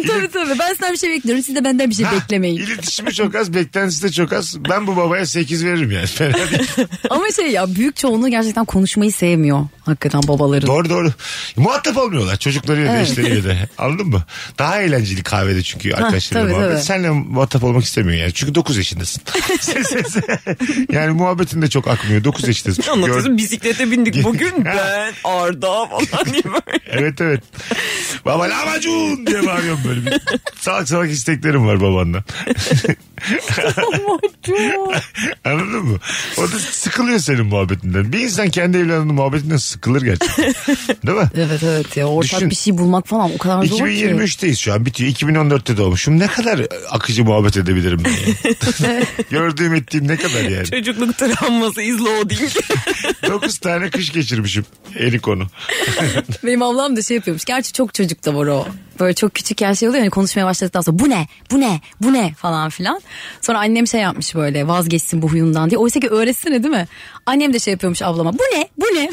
[SPEAKER 5] tabii tabii ben sizden bir şey bekliyorum siz de benden bir şey
[SPEAKER 3] Ha,
[SPEAKER 5] beklemeyin.
[SPEAKER 3] İletişimi çok az, beklentisi de çok az. Ben bu babaya 8 veririm yani. Fena değil.
[SPEAKER 5] Ama şey ya büyük çoğunluğu gerçekten konuşmayı sevmiyor hakikaten babaların.
[SPEAKER 3] doğru doğru. Muhatap olmuyorlar çocuklarıyla
[SPEAKER 5] Evet.
[SPEAKER 3] da eşleriyle de. Anladın mı? Daha eğlenceli kahvede çünkü arkadaşlarıyla
[SPEAKER 5] tabii,
[SPEAKER 3] muhabbet.
[SPEAKER 5] tabii.
[SPEAKER 3] Senle muhatap olmak istemiyor yani. Çünkü 9 yaşındasın. yani muhabbetin de çok akmıyor. 9 yaşındasın. Çünkü gör-
[SPEAKER 4] Anlatıyorsun bisiklete bindik bugün ben Arda falan diye böyle.
[SPEAKER 3] Evet evet. Baba lahmacun diye bağırıyorum böyle. Bir. Salak salak isteklerim var babandan. Anladın mı? O da sıkılıyor senin muhabbetinden. Bir insan kendi evladının muhabbetinden sıkılır gerçekten. Değil mi?
[SPEAKER 5] Evet evet ya ortak
[SPEAKER 3] Düşün.
[SPEAKER 5] bir şey bulmak falan o kadar zor ki.
[SPEAKER 3] 2023'teyiz şu an bitiyor. 2014'te doğmuşum. Ne kadar akıcı muhabbet edebilirim ben. ya? Gördüğüm ettiğim ne kadar yani.
[SPEAKER 4] Çocukluk travması izle o değil.
[SPEAKER 3] 9 tane kış geçirmişim. Eli konu.
[SPEAKER 5] Benim ablam da şey yapıyormuş. Gerçi çok çocuk da var o. Böyle çok küçükken şey oluyor hani konuşmaya başladıktan sonra bu ne bu ne bu ne falan filan. Sonra annem şey yapmış böyle vazgeçsin bu huyundan diye. Oysa ki öğretsene değil mi? Annem de şey yapıyormuş ablama bu ne bu ne. öyle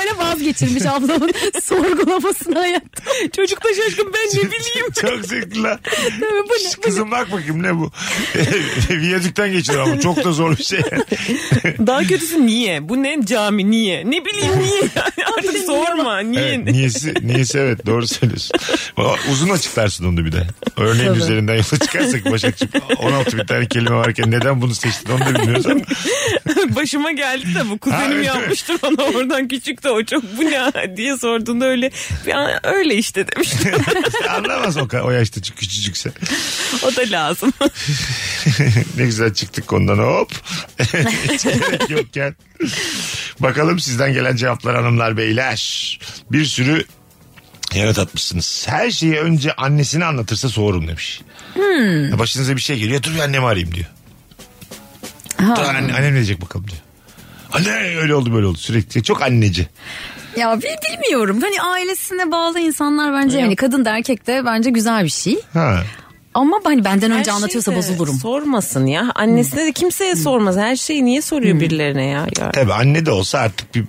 [SPEAKER 5] öyle vazgeçirmiş ablamın sorgulamasını hayatta.
[SPEAKER 4] Çocuk da şaşkın ben ne bileyim.
[SPEAKER 3] Çok zevkli lan.
[SPEAKER 5] Bu ne?
[SPEAKER 3] Kızım bak bakayım ne bu? Viyadükten geçiyor ama çok da zor bir şey.
[SPEAKER 4] Daha kötüsü niye? Bu ne cami niye? Ne bileyim niye? Yani artık sorma niye?
[SPEAKER 3] Evet, niyesi, niyesi evet doğru söylüyorsun. Ama Uzun açıklarsın onu bir de. Örneğin
[SPEAKER 5] Tabii.
[SPEAKER 3] üzerinden yola çıkarsak Başakçığım 16 bin tane kelime varken neden bunu seçtin onu da bilmiyoruz ama.
[SPEAKER 4] Başıma geldi de bu
[SPEAKER 3] Ha,
[SPEAKER 4] kuzenim
[SPEAKER 3] evet,
[SPEAKER 4] yapmıştır bana oradan küçük de o çok bu ne diye sorduğunda öyle "Ya, öyle işte demiştim.
[SPEAKER 3] Anlamaz o, ka- o yaşta çünkü küçücükse.
[SPEAKER 4] o da lazım.
[SPEAKER 3] ne güzel çıktık konudan hop. Hiç gerek yokken. Bakalım sizden gelen cevaplar hanımlar beyler. Bir sürü yanıt atmışsınız. Her şeyi önce annesine anlatırsa soğurum demiş. Başınıza bir şey geliyor dur bir annemi arayayım diyor. Dur anne, annem ne diyecek bakalım diyor. Anne öyle oldu böyle oldu sürekli. Çok anneci.
[SPEAKER 5] Ya bil- bilmiyorum. Hani ailesine bağlı insanlar bence yani kadın da erkek de bence güzel bir şey.
[SPEAKER 3] Ha.
[SPEAKER 5] Ama hani benden
[SPEAKER 4] Her
[SPEAKER 5] önce anlatıyorsa
[SPEAKER 4] şeyi de
[SPEAKER 5] bozulurum. Hmm.
[SPEAKER 4] Sormasın ya. Annesine de kimseye sormaz. Her şeyi niye soruyor birilerine ya? ya?
[SPEAKER 3] Tabii anne de olsa artık bir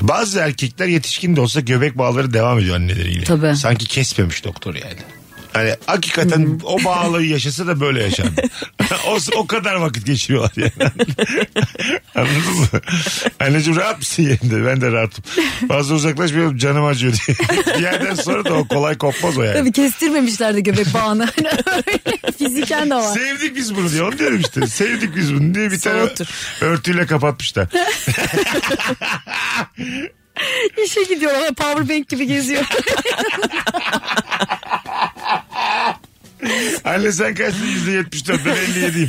[SPEAKER 3] bazı erkekler yetişkin de olsa göbek bağları devam ediyor anneleriyle.
[SPEAKER 5] Tabii.
[SPEAKER 3] Sanki kesmemiş doktor yani. Hani
[SPEAKER 5] Hmm.
[SPEAKER 3] hakikaten o bağları yaşasa da böyle yaşandı. o, o kadar vakit geçiriyorlar yani. Anladın mı? Anneciğim rahat mısın yerinde? Ben de rahatım. Fazla uzaklaşmıyorum canım acıyor diye. Bir yerden sonra da o kolay kopmaz o yani.
[SPEAKER 5] Tabii kestirmemişler de göbek bağını. Hani öyle Fiziken de var.
[SPEAKER 3] Sevdik biz bunu diye onu diyorum işte. Sevdik biz bunu diye bir tane
[SPEAKER 4] Soğuttur.
[SPEAKER 3] örtüyle kapatmışlar.
[SPEAKER 5] İşe gidiyorlar. Powerbank gibi geziyor.
[SPEAKER 3] Anne sen kaçtın yüzde yetmiş dört ben elli yediyim.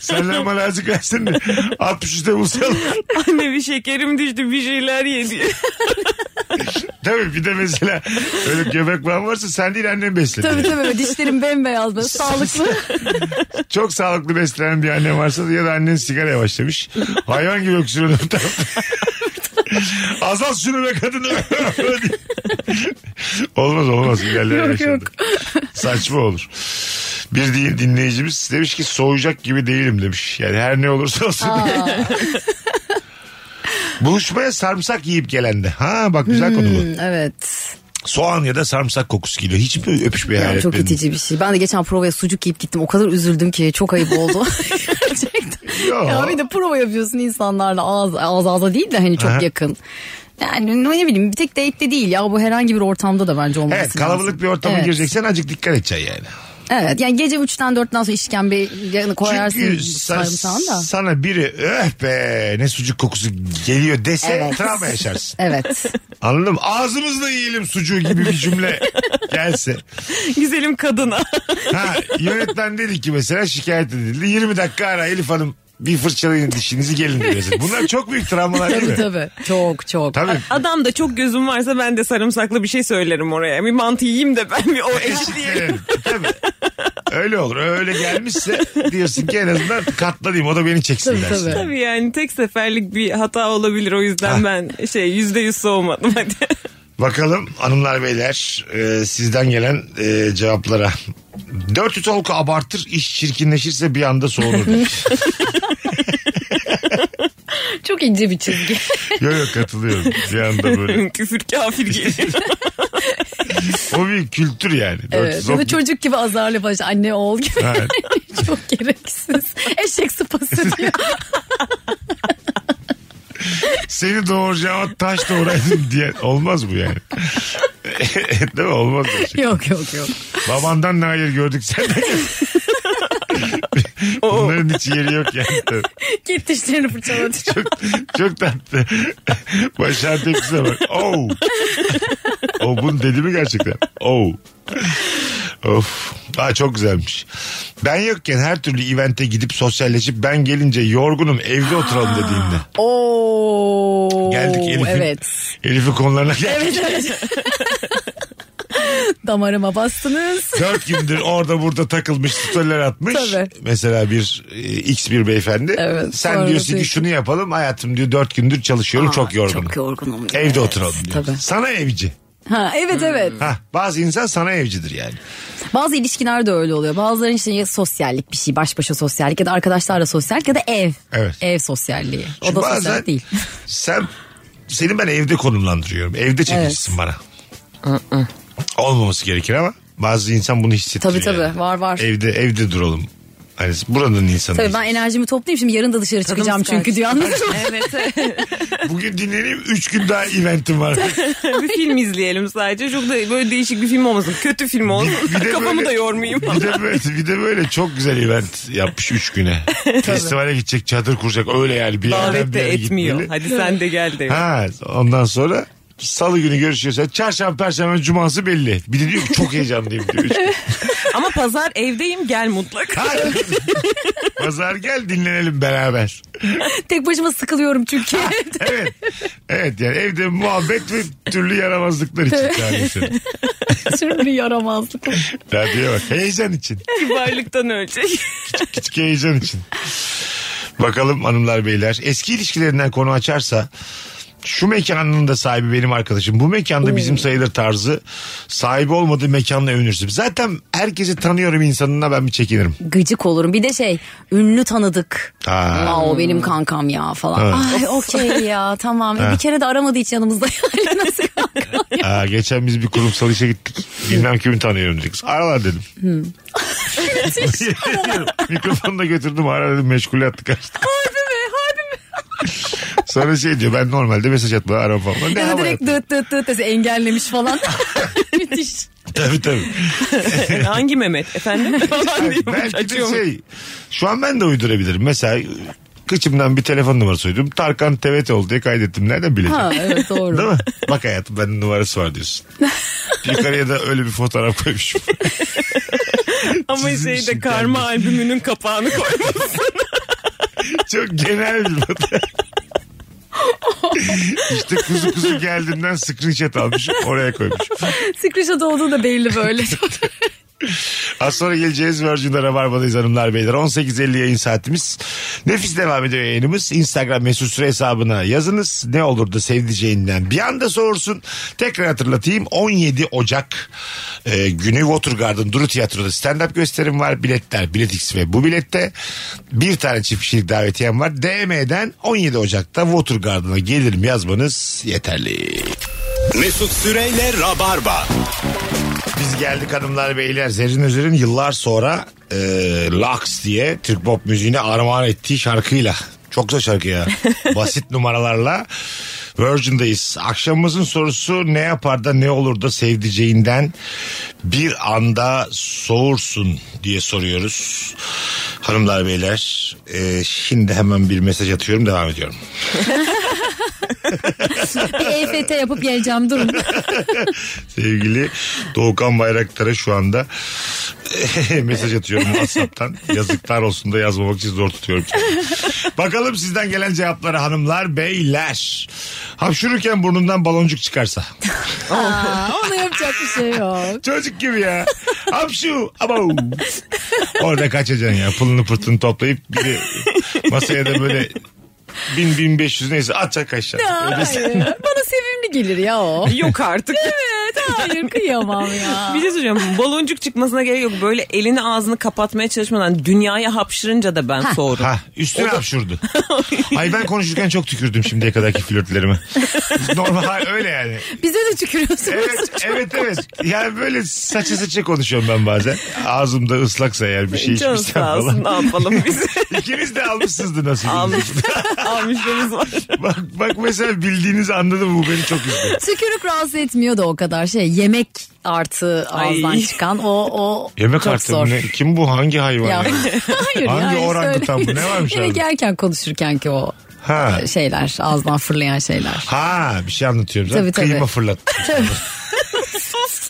[SPEAKER 3] Senden bana azıcık kaçtın da altmış üçte bulsayalım.
[SPEAKER 4] Anne bir şekerim düştü bir şeyler yedi.
[SPEAKER 3] Tabii bir de mesela öyle göbek bağın varsa sen değil annen besledi.
[SPEAKER 5] tabii tabii. böyle Dişlerim bembeyaz böyle. Sağlıklı.
[SPEAKER 3] Çok sağlıklı beslenen bir anne varsa da ya da annen sigaraya başlamış. Hayvan gibi öksürüyor öbür tarafta. Azalt şunu be kadın. olmaz olmaz. İlerler
[SPEAKER 5] Yok,
[SPEAKER 3] yaşandı.
[SPEAKER 5] yok.
[SPEAKER 3] Saçma olur. Bir din- dinleyicimiz demiş ki soğuyacak gibi değilim demiş. Yani her ne olursa olsun. Buluşmaya sarımsak yiyip gelende. Ha bak güzel konu
[SPEAKER 5] Hmm.
[SPEAKER 3] bu.
[SPEAKER 5] evet.
[SPEAKER 3] Soğan ya da sarımsak kokusu geliyor. Hiç mi öpüşmeye hayal
[SPEAKER 5] Yani çok
[SPEAKER 3] etmedin?
[SPEAKER 5] itici bir şey. Ben de geçen provaya sucuk yiyip gittim. O kadar üzüldüm ki çok ayıp oldu. Gerçekten.
[SPEAKER 3] Yo.
[SPEAKER 5] Ya bir de prova yapıyorsun insanlarla ağız ağız ağza değil de hani çok
[SPEAKER 3] Aha.
[SPEAKER 5] yakın. Yani ne bileyim bir tek date de değil ya bu herhangi bir ortamda da bence olması
[SPEAKER 3] Evet kalabalık
[SPEAKER 5] lazım.
[SPEAKER 3] bir ortama
[SPEAKER 5] evet.
[SPEAKER 3] gireceksen azıcık dikkat edeceksin yani.
[SPEAKER 5] Evet yani gece 3'ten 4'ten sonra işkembe yanı koyarsın
[SPEAKER 3] Çünkü sen-
[SPEAKER 5] sarımsağın da.
[SPEAKER 3] sana biri öh be ne sucuk kokusu geliyor dese
[SPEAKER 5] Evet.
[SPEAKER 3] travma yaşarsın.
[SPEAKER 5] Evet.
[SPEAKER 3] Anladın mı? Ağzımızla yiyelim sucuğu gibi bir cümle gelse.
[SPEAKER 4] Güzelim kadına.
[SPEAKER 3] Ha, yönetmen dedi ki mesela şikayet edildi. 20 dakika ara Elif Hanım bir fırçalayın dişinizi gelin diyor. mesela. Bunlar çok büyük travmalar değil
[SPEAKER 5] tabii
[SPEAKER 3] mi?
[SPEAKER 5] tabii. Çok çok.
[SPEAKER 3] Tabii.
[SPEAKER 4] Adam da çok gözüm varsa ben de sarımsaklı bir şey söylerim oraya. Bir mantı yiyeyim de ben bir o eşitleyelim.
[SPEAKER 3] Evet, tabii. Öyle olur. Öyle gelmişse diyorsun ki en azından katlanayım. O da beni çeksin
[SPEAKER 5] Tabii,
[SPEAKER 3] dersin.
[SPEAKER 5] tabii.
[SPEAKER 4] Tabii yani tek seferlik bir hata olabilir o yüzden ben şey yüzde yüz soğumadım hadi.
[SPEAKER 3] Bakalım hanımlar beyler e, sizden gelen e, cevaplara. 400 olku abartır iş çirkinleşirse bir anda soğunur. demiş.
[SPEAKER 5] Çok ince bir çizgi.
[SPEAKER 3] yok yok katılıyorum. Bir anda böyle.
[SPEAKER 4] Küfür kafir geliyor.
[SPEAKER 3] O bir kültür yani. 400
[SPEAKER 5] evet. Böyle
[SPEAKER 3] olku-
[SPEAKER 5] çocuk gibi azarlı baş anne oğul gibi.
[SPEAKER 3] Evet.
[SPEAKER 5] Çok gereksiz. Eşek sıpası diyor.
[SPEAKER 3] Seni doğuracağıma taş doğuraydım diye. Olmaz bu yani. Değil mi? Olmaz. gerçekten.
[SPEAKER 5] yok yok yok.
[SPEAKER 3] Babandan ne hayır gördük senden. Bunların hiç yeri yok yani. Evet.
[SPEAKER 5] Git dişlerini fırçalatıyor.
[SPEAKER 3] Çok, çok tatlı. Başar tepkisine bak. Oh. O bunu dedi mi gerçekten? Oh. Of. Aa, çok güzelmiş. Ben yokken her türlü evente gidip sosyalleşip ben gelince yorgunum evde oturalım dediğinde.
[SPEAKER 5] Oo.
[SPEAKER 3] Geldik Elif'in,
[SPEAKER 5] Evet.
[SPEAKER 3] Elif'in konularına geldik.
[SPEAKER 5] Evet evet. Damarıma bastınız.
[SPEAKER 3] Dört gündür orada burada takılmış storyler atmış.
[SPEAKER 5] Tabii.
[SPEAKER 3] Mesela bir e, X bir beyefendi.
[SPEAKER 5] Evet,
[SPEAKER 3] Sen
[SPEAKER 5] sonra
[SPEAKER 3] diyorsun ki
[SPEAKER 5] diyor ki-
[SPEAKER 3] şunu yapalım hayatım diyor dört gündür çalışıyorum çok yorgunum.
[SPEAKER 5] Çok yorgunum.
[SPEAKER 3] Evde oturalım diyor.
[SPEAKER 5] Tabii.
[SPEAKER 3] Sana evci.
[SPEAKER 5] Ha, evet
[SPEAKER 3] Hmm.
[SPEAKER 5] evet.
[SPEAKER 3] Ha, bazı insan sana evcidir yani.
[SPEAKER 5] Bazı ilişkiler de öyle oluyor. Bazıların için ya sosyallik bir şey baş başa sosyallik ya da arkadaşlarla sosyallik ya da ev.
[SPEAKER 3] Evet.
[SPEAKER 5] Ev sosyalliği. O
[SPEAKER 3] Çünkü
[SPEAKER 5] da sosyallik değil.
[SPEAKER 3] Sen seni ben evde konumlandırıyorum. Evde çekicisin bana. Olmaması gerekir ama bazı insan bunu hissettiriyor.
[SPEAKER 5] Tabii, tabii.
[SPEAKER 3] yani.
[SPEAKER 5] Var, var.
[SPEAKER 3] Evde evde duralım. Hani buranın insanı.
[SPEAKER 5] Tabii ben enerjimi toplayayım şimdi yarın da dışarı çıkacağım
[SPEAKER 4] sıkar.
[SPEAKER 5] çünkü diyor anladın mı?
[SPEAKER 4] evet.
[SPEAKER 3] Bugün dinleneyim 3 gün daha eventim var.
[SPEAKER 4] bir film izleyelim sadece. Çok da böyle değişik bir film olmasın. Kötü film olsun. Kafamı
[SPEAKER 3] böyle-
[SPEAKER 4] da yormayayım.
[SPEAKER 3] Bir de, böyle, bir de böyle çok güzel event yapmış 3 güne. Festivale gidecek, çadır kuracak. Öyle yani bir yerden
[SPEAKER 4] Davet
[SPEAKER 3] bir
[SPEAKER 4] de
[SPEAKER 3] yere
[SPEAKER 4] etmiyor.
[SPEAKER 3] gitmeli.
[SPEAKER 4] Hadi sen de gel de.
[SPEAKER 3] Ha, ondan sonra salı günü görüşüyorsa çarşamba, perşembe, cuması belli. Bir de diyor ki çok heyecanlıyım diyor. Üç gün.
[SPEAKER 4] Ama pazar evdeyim gel mutlaka.
[SPEAKER 3] Hadi. Pazar gel dinlenelim beraber.
[SPEAKER 5] Tek başıma sıkılıyorum çünkü.
[SPEAKER 3] Evet. Evet yani evde muhabbet ve türlü yaramazlıklar için çağırıyorsun.
[SPEAKER 5] Sürmülü yaramazlık.
[SPEAKER 3] Radyoya bak. Heyecan için.
[SPEAKER 4] Kibarlıktan ölecek.
[SPEAKER 3] Küçük heyecan için. Bakalım hanımlar beyler. Eski ilişkilerinden konu açarsa şu mekanın da sahibi benim arkadaşım. Bu mekanda bizim sayılır tarzı sahibi olmadığı mekanla övünürsün. Zaten herkesi tanıyorum insanına ben bir çekinirim.
[SPEAKER 5] Gıcık olurum. Bir de şey ünlü tanıdık.
[SPEAKER 3] Ha.
[SPEAKER 5] Aa, o benim kankam ya falan. Ay okey ya tamam. Bir kere de aramadı hiç yanımızda. Yani nasıl kankam?
[SPEAKER 3] Aa, geçen biz bir kurumsal işe gittik. Bilmem kimi tanıyorum dedik. Aralar dedim. Mikrofonu da götürdüm. Ara dedim meşgul attı kaçtı. Sonra şey diyor ben normalde mesaj atma aram falan. Ne
[SPEAKER 5] Ya da
[SPEAKER 3] hava
[SPEAKER 5] direkt
[SPEAKER 3] yaptın?
[SPEAKER 5] dıt dıt dıt dese engellemiş falan. Müthiş.
[SPEAKER 3] Tabii tabii.
[SPEAKER 4] Hangi Mehmet efendim? Falan diyormuş
[SPEAKER 3] Belki de
[SPEAKER 4] açıyormuş.
[SPEAKER 3] şey şu an ben de uydurabilirim. Mesela kıçımdan bir telefon numarası uydum. Tarkan TVT oldu diye kaydettim. Nereden bileceğim?
[SPEAKER 5] Ha evet doğru.
[SPEAKER 3] Değil mi? Bak hayatım bende numarası var diyorsun. Yukarıya da öyle bir fotoğraf koymuşum.
[SPEAKER 4] Ama
[SPEAKER 3] çizim
[SPEAKER 4] şey de
[SPEAKER 3] işi
[SPEAKER 4] karma albümünün kapağını koymuş.
[SPEAKER 3] Çok genel bir fotoğraf. işte kuzu kuzu geldiğimden screenshot almış oraya koymuş.
[SPEAKER 5] Screenshot olduğu da belli böyle.
[SPEAKER 3] Az sonra geleceğiz Virgin'de Rabarba'dayız hanımlar beyler. 18.50 yayın saatimiz. Nefis devam ediyor yayınımız. Instagram mesut süre hesabına yazınız. Ne olur da sevdiceğinden bir anda sorursun. Tekrar hatırlatayım 17 Ocak e, günü Watergarden Duru Tiyatro'da stand-up gösterim var. Biletler Biletix ve bu bilette bir tane çift kişilik davetiyem var. DM'den 17 Ocak'ta Watergarden'a gelirim yazmanız yeterli.
[SPEAKER 2] Mesut Süreyle Rabarba.
[SPEAKER 3] Biz geldik hanımlar beyler. Zerrin Özer'in yıllar sonra e, Lux diye Türk pop müziğine armağan ettiği şarkıyla. Çok güzel şarkı ya. Basit numaralarla Virgin'dayız. Akşamımızın sorusu ne yapar da ne olur da sevdiceğinden bir anda soğursun diye soruyoruz. Hanımlar beyler e, şimdi hemen bir mesaj atıyorum devam ediyorum.
[SPEAKER 5] bir EFT E yapıp geleceğim durun.
[SPEAKER 3] Sevgili Doğukan Bayraktar'a şu anda eh, mesaj atıyorum WhatsApp'tan. Yazıklar olsun da yazmamak için zor tutuyorum. Bakalım sizden gelen cevaplara hanımlar, beyler. Hapşururken burnundan baloncuk çıkarsa.
[SPEAKER 5] Aa, onu yapacak bir şey yok.
[SPEAKER 3] Çocuk gibi ya. Hapşu. Abav. Orada kaçacaksın ya. Pılını pırtını toplayıp bir de masaya da böyle bin bin beş yüz neyse atacak aşağı. Öyle
[SPEAKER 5] Hayır. Bana sevimli gelir ya o.
[SPEAKER 4] Yok artık.
[SPEAKER 5] Evet Hayır kıyamam ya.
[SPEAKER 4] Bir şey söyleyeceğim. Baloncuk çıkmasına gerek yok. Böyle elini ağzını kapatmaya çalışmadan dünyaya hapşırınca da ben soğudum.
[SPEAKER 3] Ha üstüne hapşurdu. Ay ben konuşurken çok tükürdüm şimdiye kadarki flörtlerime. Normal öyle yani.
[SPEAKER 5] Bize de tükürüyorsunuz.
[SPEAKER 3] Evet evet evet. Yani böyle saça saça konuşuyorum ben bazen. Ağzımda ıslaksa eğer bir şey
[SPEAKER 4] Canım
[SPEAKER 3] içmişsem
[SPEAKER 4] sağ olsun
[SPEAKER 3] falan.
[SPEAKER 4] ne yapalım biz.
[SPEAKER 3] İkiniz de almışsınızdı nasıl.
[SPEAKER 4] Almış, almışlarımız var.
[SPEAKER 3] bak, bak mesela bildiğiniz anladım bu beni çok üzdü.
[SPEAKER 5] Tükürük rahatsız etmiyor da o kadar şey. Yemek artı
[SPEAKER 4] Ay.
[SPEAKER 5] ağızdan çıkan o o
[SPEAKER 3] Yemek
[SPEAKER 5] çok
[SPEAKER 3] artı
[SPEAKER 5] zor.
[SPEAKER 3] bu ne? Kim bu? Hangi hayvan?
[SPEAKER 5] Ya.
[SPEAKER 3] ya?
[SPEAKER 5] Hayır
[SPEAKER 3] Hangi
[SPEAKER 5] yani
[SPEAKER 3] orangutan bu? Ne varmış
[SPEAKER 5] Yemek
[SPEAKER 3] abi?
[SPEAKER 5] yerken konuşurken ki o e,
[SPEAKER 3] Ha.
[SPEAKER 5] şeyler ağızdan fırlayan şeyler.
[SPEAKER 3] Ha bir şey anlatıyorum.
[SPEAKER 5] Tabii,
[SPEAKER 3] Tabii,
[SPEAKER 5] tabii.
[SPEAKER 3] Kıyma fırlat.
[SPEAKER 4] Sus.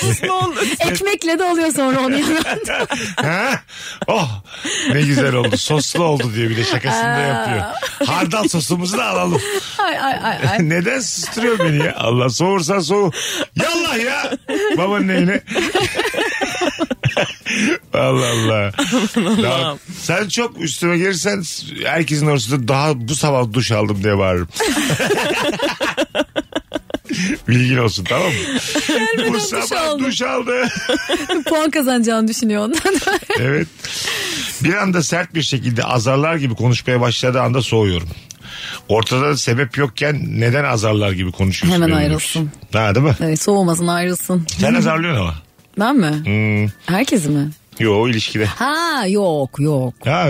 [SPEAKER 4] Sus ne olur.
[SPEAKER 5] Ekmekle de alıyor sonra onu yanına.
[SPEAKER 3] ha? Oh ne güzel oldu. Soslu oldu diyor bir de şakasını da yapıyor. Hardal sosumuzu da alalım.
[SPEAKER 5] ay ay ay. ay.
[SPEAKER 3] Neden susturuyor beni ya? Allah soğursa soğu. Yallah ya. Babanın evine. Allah Allah. Daha- sen çok üstüme gelirsen herkesin orasında daha bu sabah duş aldım diye bağırırım. Bilgin olsun tamam mı? bu
[SPEAKER 5] duş
[SPEAKER 3] sabah
[SPEAKER 5] aldım.
[SPEAKER 3] duş aldı.
[SPEAKER 5] Puan kazanacağını düşünüyor ondan.
[SPEAKER 3] Evet. Bir anda sert bir şekilde azarlar gibi konuşmaya başladığı anda soğuyorum. Ortada sebep yokken neden azarlar gibi konuşuyorsun?
[SPEAKER 5] Hemen
[SPEAKER 3] benimle?
[SPEAKER 5] ayrılsın.
[SPEAKER 3] Ha değil mi?
[SPEAKER 5] evet, soğumasın ayrılsın.
[SPEAKER 3] Sen azarlıyorsun ama.
[SPEAKER 5] Ben mi?
[SPEAKER 3] Hmm.
[SPEAKER 5] Herkesi mi?
[SPEAKER 3] Yo o ilişkide.
[SPEAKER 5] Ha yok yok.
[SPEAKER 3] Ha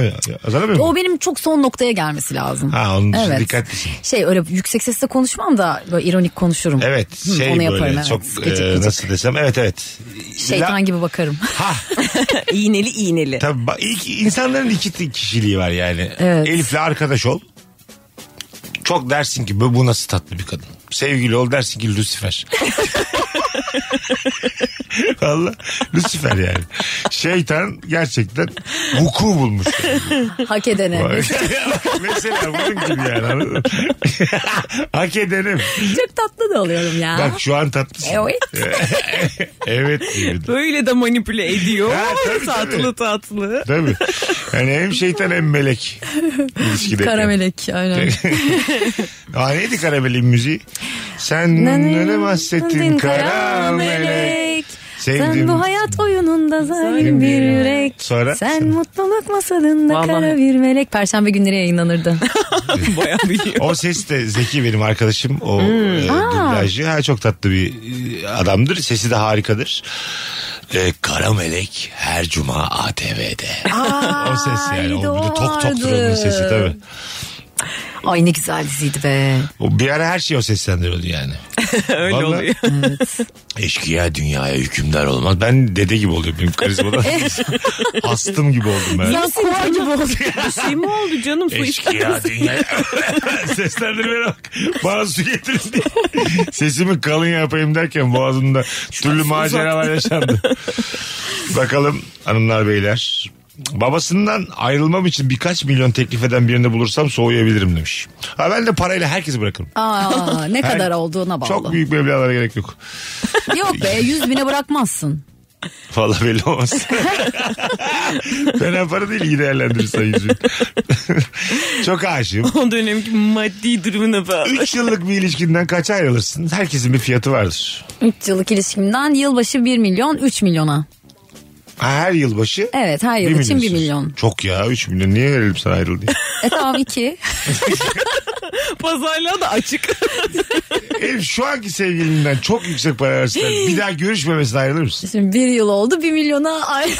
[SPEAKER 3] azarlamıyor
[SPEAKER 5] O
[SPEAKER 3] musun?
[SPEAKER 5] benim çok son noktaya gelmesi lazım.
[SPEAKER 3] Hmm. Ha, onun için dikkatlisin.
[SPEAKER 5] Şey öyle yüksek sesle konuşmam da böyle ironik konuşurum.
[SPEAKER 3] Evet
[SPEAKER 5] Hı,
[SPEAKER 3] şey
[SPEAKER 5] onu
[SPEAKER 3] böyle
[SPEAKER 5] yaparım, evet.
[SPEAKER 3] çok
[SPEAKER 5] Gıcık
[SPEAKER 3] e,
[SPEAKER 5] gıcık.
[SPEAKER 3] nasıl desem evet evet.
[SPEAKER 5] Şeytan
[SPEAKER 3] La-
[SPEAKER 5] gibi bakarım.
[SPEAKER 3] Ha
[SPEAKER 4] İğneli iğneli.
[SPEAKER 3] tabii bak, ilk insanların iki t- kişiliği var yani.
[SPEAKER 5] Evet.
[SPEAKER 3] Elif'le arkadaş ol. Çok dersin ki bu bu nasıl tatlı bir kadın. Sevgili ol dersin ki Lucifer. Valla Lucifer yani. Şeytan gerçekten vuku bulmuş. yani.
[SPEAKER 5] Hak edene.
[SPEAKER 3] Mesela bunun gibi yani. anladın mı? Hak edenim.
[SPEAKER 5] çok tatlı da alıyorum ya. E,
[SPEAKER 3] Bak şu an tatlısın.
[SPEAKER 5] Evet.
[SPEAKER 3] evet gibi.
[SPEAKER 4] Böyle de manipüle ediyor.
[SPEAKER 3] Ha, tabii,
[SPEAKER 4] tatlı
[SPEAKER 3] tabii.
[SPEAKER 4] tatlı.
[SPEAKER 3] Değil mi? Yani hem şeytan hem melek ilişkide.
[SPEAKER 5] Karamelek aynen.
[SPEAKER 3] Aa, neydi karamelin müziği? Sen ne bahsettin karamelek. Sevdim.
[SPEAKER 5] Sen bu hayat oyununda zalim bir yürek.
[SPEAKER 3] Sonra?
[SPEAKER 5] Sen mutluluk masalında
[SPEAKER 4] Vallahi.
[SPEAKER 5] kara bir melek. Perşembe günleri yayınlanırdı.
[SPEAKER 4] Bayağı biliyor.
[SPEAKER 3] O ses de Zeki benim arkadaşım. O
[SPEAKER 5] Hmm.
[SPEAKER 3] e, dublajcı. Ha, çok tatlı bir e, adamdır. Sesi de harikadır. E, Karamelek her cuma ATV'de. o ses yani. O bir de tok tok onun sesi tabii.
[SPEAKER 5] Ay ne güzel diziydi be.
[SPEAKER 3] O bir ara her şey o seslendiriyordu yani.
[SPEAKER 4] Öyle
[SPEAKER 3] Vallahi-
[SPEAKER 4] oluyor.
[SPEAKER 3] Eşkıya dünyaya hükümdar olmaz. Ben dede gibi oluyorum. Benim karizmadan astım gibi oldum ben.
[SPEAKER 5] Ya kuva gibi oldu.
[SPEAKER 4] Bir şey mi oldu canım? Su
[SPEAKER 3] Eşkıya dünyaya. Seslendirmeye bak. Bana su getirin diye. Sesimi kalın yapayım derken boğazımda türlü maceralar yaşandı. Bakalım hanımlar beyler. Babasından ayrılmam için birkaç milyon teklif eden birini bulursam soğuyabilirim demiş. Ha ben de parayla herkesi bırakırım.
[SPEAKER 5] Aa, ne
[SPEAKER 3] Her-
[SPEAKER 5] kadar olduğuna bağlı.
[SPEAKER 3] Çok büyük şey. meblağlara gerek yok.
[SPEAKER 5] Yok be yüz bine bırakmazsın.
[SPEAKER 3] Vallahi belli olmaz. Fena para değil iyi değerlendirirsen yüzünü. Çok aşığım.
[SPEAKER 4] O dönemki maddi durumuna bağlı.
[SPEAKER 3] 3 yıllık bir ilişkinden kaça ayrılırsın? Herkesin bir fiyatı vardır.
[SPEAKER 5] 3 yıllık ilişkimden yılbaşı 1 milyon 3 milyona.
[SPEAKER 3] Ha, Her yılbaşı.
[SPEAKER 5] Evet, her yıl
[SPEAKER 3] bir
[SPEAKER 5] için bir
[SPEAKER 3] milyonsuz.
[SPEAKER 5] milyon.
[SPEAKER 3] Çok ya 3 milyon. Niye verelim sana ayrıl diye.
[SPEAKER 5] E tamam 2.
[SPEAKER 4] Pazarlığa da açık.
[SPEAKER 3] Elif şu anki sevgilinden çok yüksek para versinler. Bir daha görüşmemesine ayrılır mısın?
[SPEAKER 5] Şimdi 1 yıl oldu 1 milyona ay.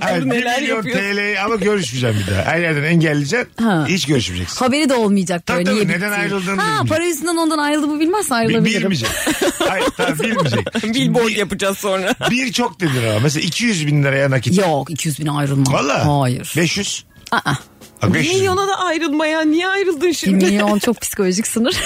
[SPEAKER 3] Hayır, bir
[SPEAKER 4] neler
[SPEAKER 3] milyon
[SPEAKER 4] yapıyorsun?
[SPEAKER 3] TL ama görüşmeyeceğim bir daha. Her yerden engelleyeceksin.
[SPEAKER 5] Ha.
[SPEAKER 3] Hiç görüşmeyeceksin.
[SPEAKER 5] Haberi de olmayacak
[SPEAKER 3] Tabii
[SPEAKER 5] böyle
[SPEAKER 3] tabii,
[SPEAKER 5] niye
[SPEAKER 3] neden
[SPEAKER 5] bittiği.
[SPEAKER 3] ayrıldığını
[SPEAKER 5] Ha
[SPEAKER 3] bilmeyecek.
[SPEAKER 5] para yüzünden ondan ayrıldı bu bilmezse
[SPEAKER 3] Bi-
[SPEAKER 5] ayrılabilirim.
[SPEAKER 3] bilmeyecek. Hayır tamam bilmeyecek.
[SPEAKER 4] Billboard yapacağız sonra.
[SPEAKER 3] Bir çok denir ama. Mesela 200 bin liraya nakit.
[SPEAKER 5] Yok 200 bin ayrılmam.
[SPEAKER 3] Valla.
[SPEAKER 5] Hayır.
[SPEAKER 3] 500.
[SPEAKER 5] Aa,
[SPEAKER 3] Bak 500.
[SPEAKER 4] Milyona da ayrılma ya. Niye ayrıldın
[SPEAKER 5] 1
[SPEAKER 4] şimdi?
[SPEAKER 5] milyon çok psikolojik sınır.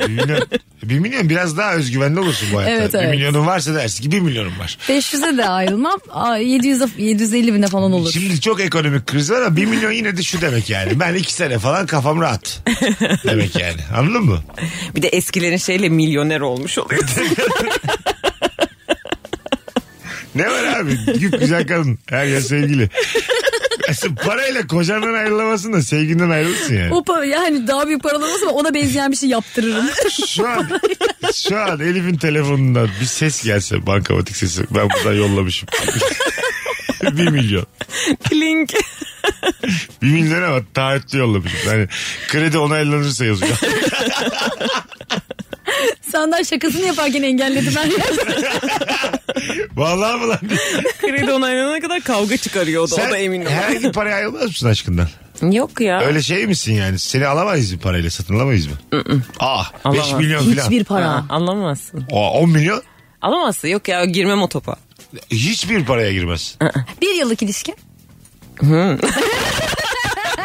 [SPEAKER 3] Bir milyon. E, Bir milyon biraz daha özgüvenli olursun bu hayatta.
[SPEAKER 5] Evet,
[SPEAKER 3] Bir
[SPEAKER 5] evet.
[SPEAKER 3] milyonun varsa dersin ki bir milyonum var.
[SPEAKER 5] 500'e de ayrılmam. Aa, 700 750 bine falan olur.
[SPEAKER 3] Şimdi çok ekonomik kriz var ama bir milyon yine de şu demek yani. Ben iki sene falan kafam rahat. demek yani. Anladın mı?
[SPEAKER 4] Bir de eskilerin şeyle milyoner olmuş oluyor.
[SPEAKER 3] Ne var abi? Güp güzel kadın. Her yer sevgili. Sen parayla kocandan ayrılamazsın da sevginden ayrılırsın yani.
[SPEAKER 5] O pa- yani daha büyük paralar olsa ona benzeyen bir şey yaptırırım.
[SPEAKER 3] Şu an, şu an Elif'in telefonundan bir ses gelse bankamatik sesi ben buradan yollamışım. bir milyon.
[SPEAKER 4] Klink.
[SPEAKER 3] Bir milyon ama taahhütlü yollamışım. Yani kredi onaylanırsa yazıyor.
[SPEAKER 5] Senden şakasını yaparken engelledim ben.
[SPEAKER 3] Vallahi mı lan?
[SPEAKER 4] Kredi onaylanana kadar kavga çıkarıyor o da. o da emin ol.
[SPEAKER 3] herhangi paraya ayrılmaz mısın aşkından?
[SPEAKER 4] Yok ya.
[SPEAKER 3] Öyle şey misin yani? Seni alamayız bir parayla satın alamayız mı? Ah 5
[SPEAKER 4] Alamaz.
[SPEAKER 3] milyon falan.
[SPEAKER 5] Hiçbir para.
[SPEAKER 4] Ha, anlamazsın.
[SPEAKER 3] Aa, 10 milyon
[SPEAKER 4] Alamazsın. Yok ya girmem o topa.
[SPEAKER 3] hiçbir paraya girmez.
[SPEAKER 5] Bir yıllık ilişki.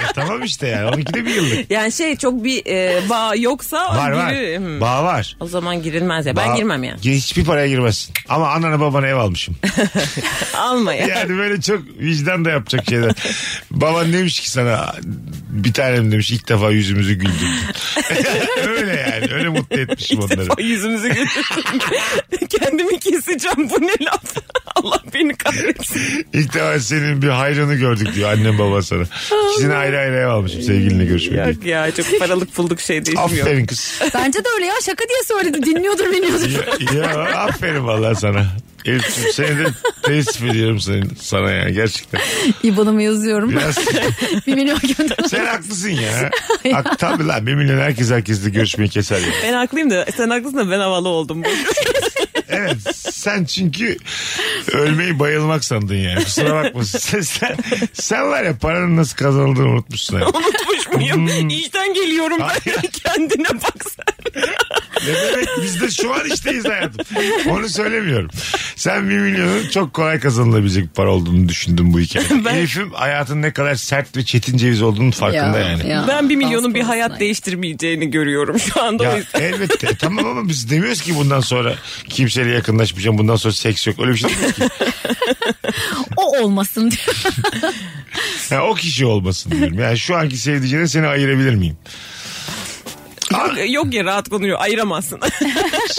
[SPEAKER 3] E, tamam işte yani 12 de bir yıllık.
[SPEAKER 4] Yani şey çok bir e, bağ yoksa
[SPEAKER 3] Var var.
[SPEAKER 4] giririm.
[SPEAKER 3] Bağ var.
[SPEAKER 4] O zaman girilmez ya. Ben
[SPEAKER 3] Ba-
[SPEAKER 4] girmem yani.
[SPEAKER 3] Gir- Hiçbir paraya girmezsin. Ama anana babana ev almışım.
[SPEAKER 4] Alma ya.
[SPEAKER 3] Yani böyle çok vicdan da yapacak şeyler. Baban demiş ki sana bir tanem demiş ilk defa yüzümüzü güldürdün. öyle yani öyle mutlu etmişim
[SPEAKER 4] İlk
[SPEAKER 3] onları.
[SPEAKER 4] defa yüzümüzü güldürdün. Kendimi keseceğim. Bu ne laf? Allah beni kahretsin.
[SPEAKER 3] İlk defa senin bir hayrını gördük diyor annem baba sana. İkisini ayrı ayrı ev almışım sevgilinle görüşmek diye.
[SPEAKER 4] Yok ya çok paralık bulduk şey değişmiyor.
[SPEAKER 3] Aferin kız.
[SPEAKER 5] Bence de öyle ya şaka diye söyledi. Dinliyordur dinliyordur.
[SPEAKER 3] Ya, ya, aferin vallahi sana. Elif'ciğim seni de teessüf ediyorum senin, sana ya gerçekten.
[SPEAKER 5] İban'ıma yazıyorum.
[SPEAKER 3] Biraz
[SPEAKER 5] bir milyon gönder.
[SPEAKER 3] sen haklısın ya. Hak, tabii lan bir milyon herkes herkesle görüşmeyi keser ya.
[SPEAKER 4] Ben haklıyım da sen haklısın da ben havalı oldum.
[SPEAKER 3] Evet sen çünkü ölmeyi bayılmak sandın yani. Kusura bakma. Sen, sen, sen var ya paranın nasıl kazanıldığını unutmuşsun. Yani.
[SPEAKER 4] Unutmuş
[SPEAKER 3] Hmm.
[SPEAKER 4] muyum? İşten geliyorum ben.
[SPEAKER 3] Hayır.
[SPEAKER 4] Kendine bak sen.
[SPEAKER 3] Ne demek biz de şu an işteyiz hayatım. Onu söylemiyorum. Sen bir milyonun çok kolay kazanılabilecek bir para olduğunu düşündün bu hikayede.
[SPEAKER 4] Ben-
[SPEAKER 3] Elif'im hayatın ne kadar sert ve çetin ceviz olduğunun farkında yani.
[SPEAKER 4] Ben bir milyonun bir hayat
[SPEAKER 5] değil.
[SPEAKER 4] değiştirmeyeceğini görüyorum şu anda. o
[SPEAKER 3] Ya
[SPEAKER 4] yüzden.
[SPEAKER 3] elbette E, tamam ama biz demiyoruz ki bundan sonra kimseyle yakınlaşmayacağım bundan sonra seks yok öyle bir şey demiyoruz ki.
[SPEAKER 5] O olmasın diyor.
[SPEAKER 3] Yani o kişi olmasın diyorum. Yani şu anki sevdiceğine seni ayırabilir miyim?
[SPEAKER 4] Yok, yok ya rahat konuyor. Ayıramazsın.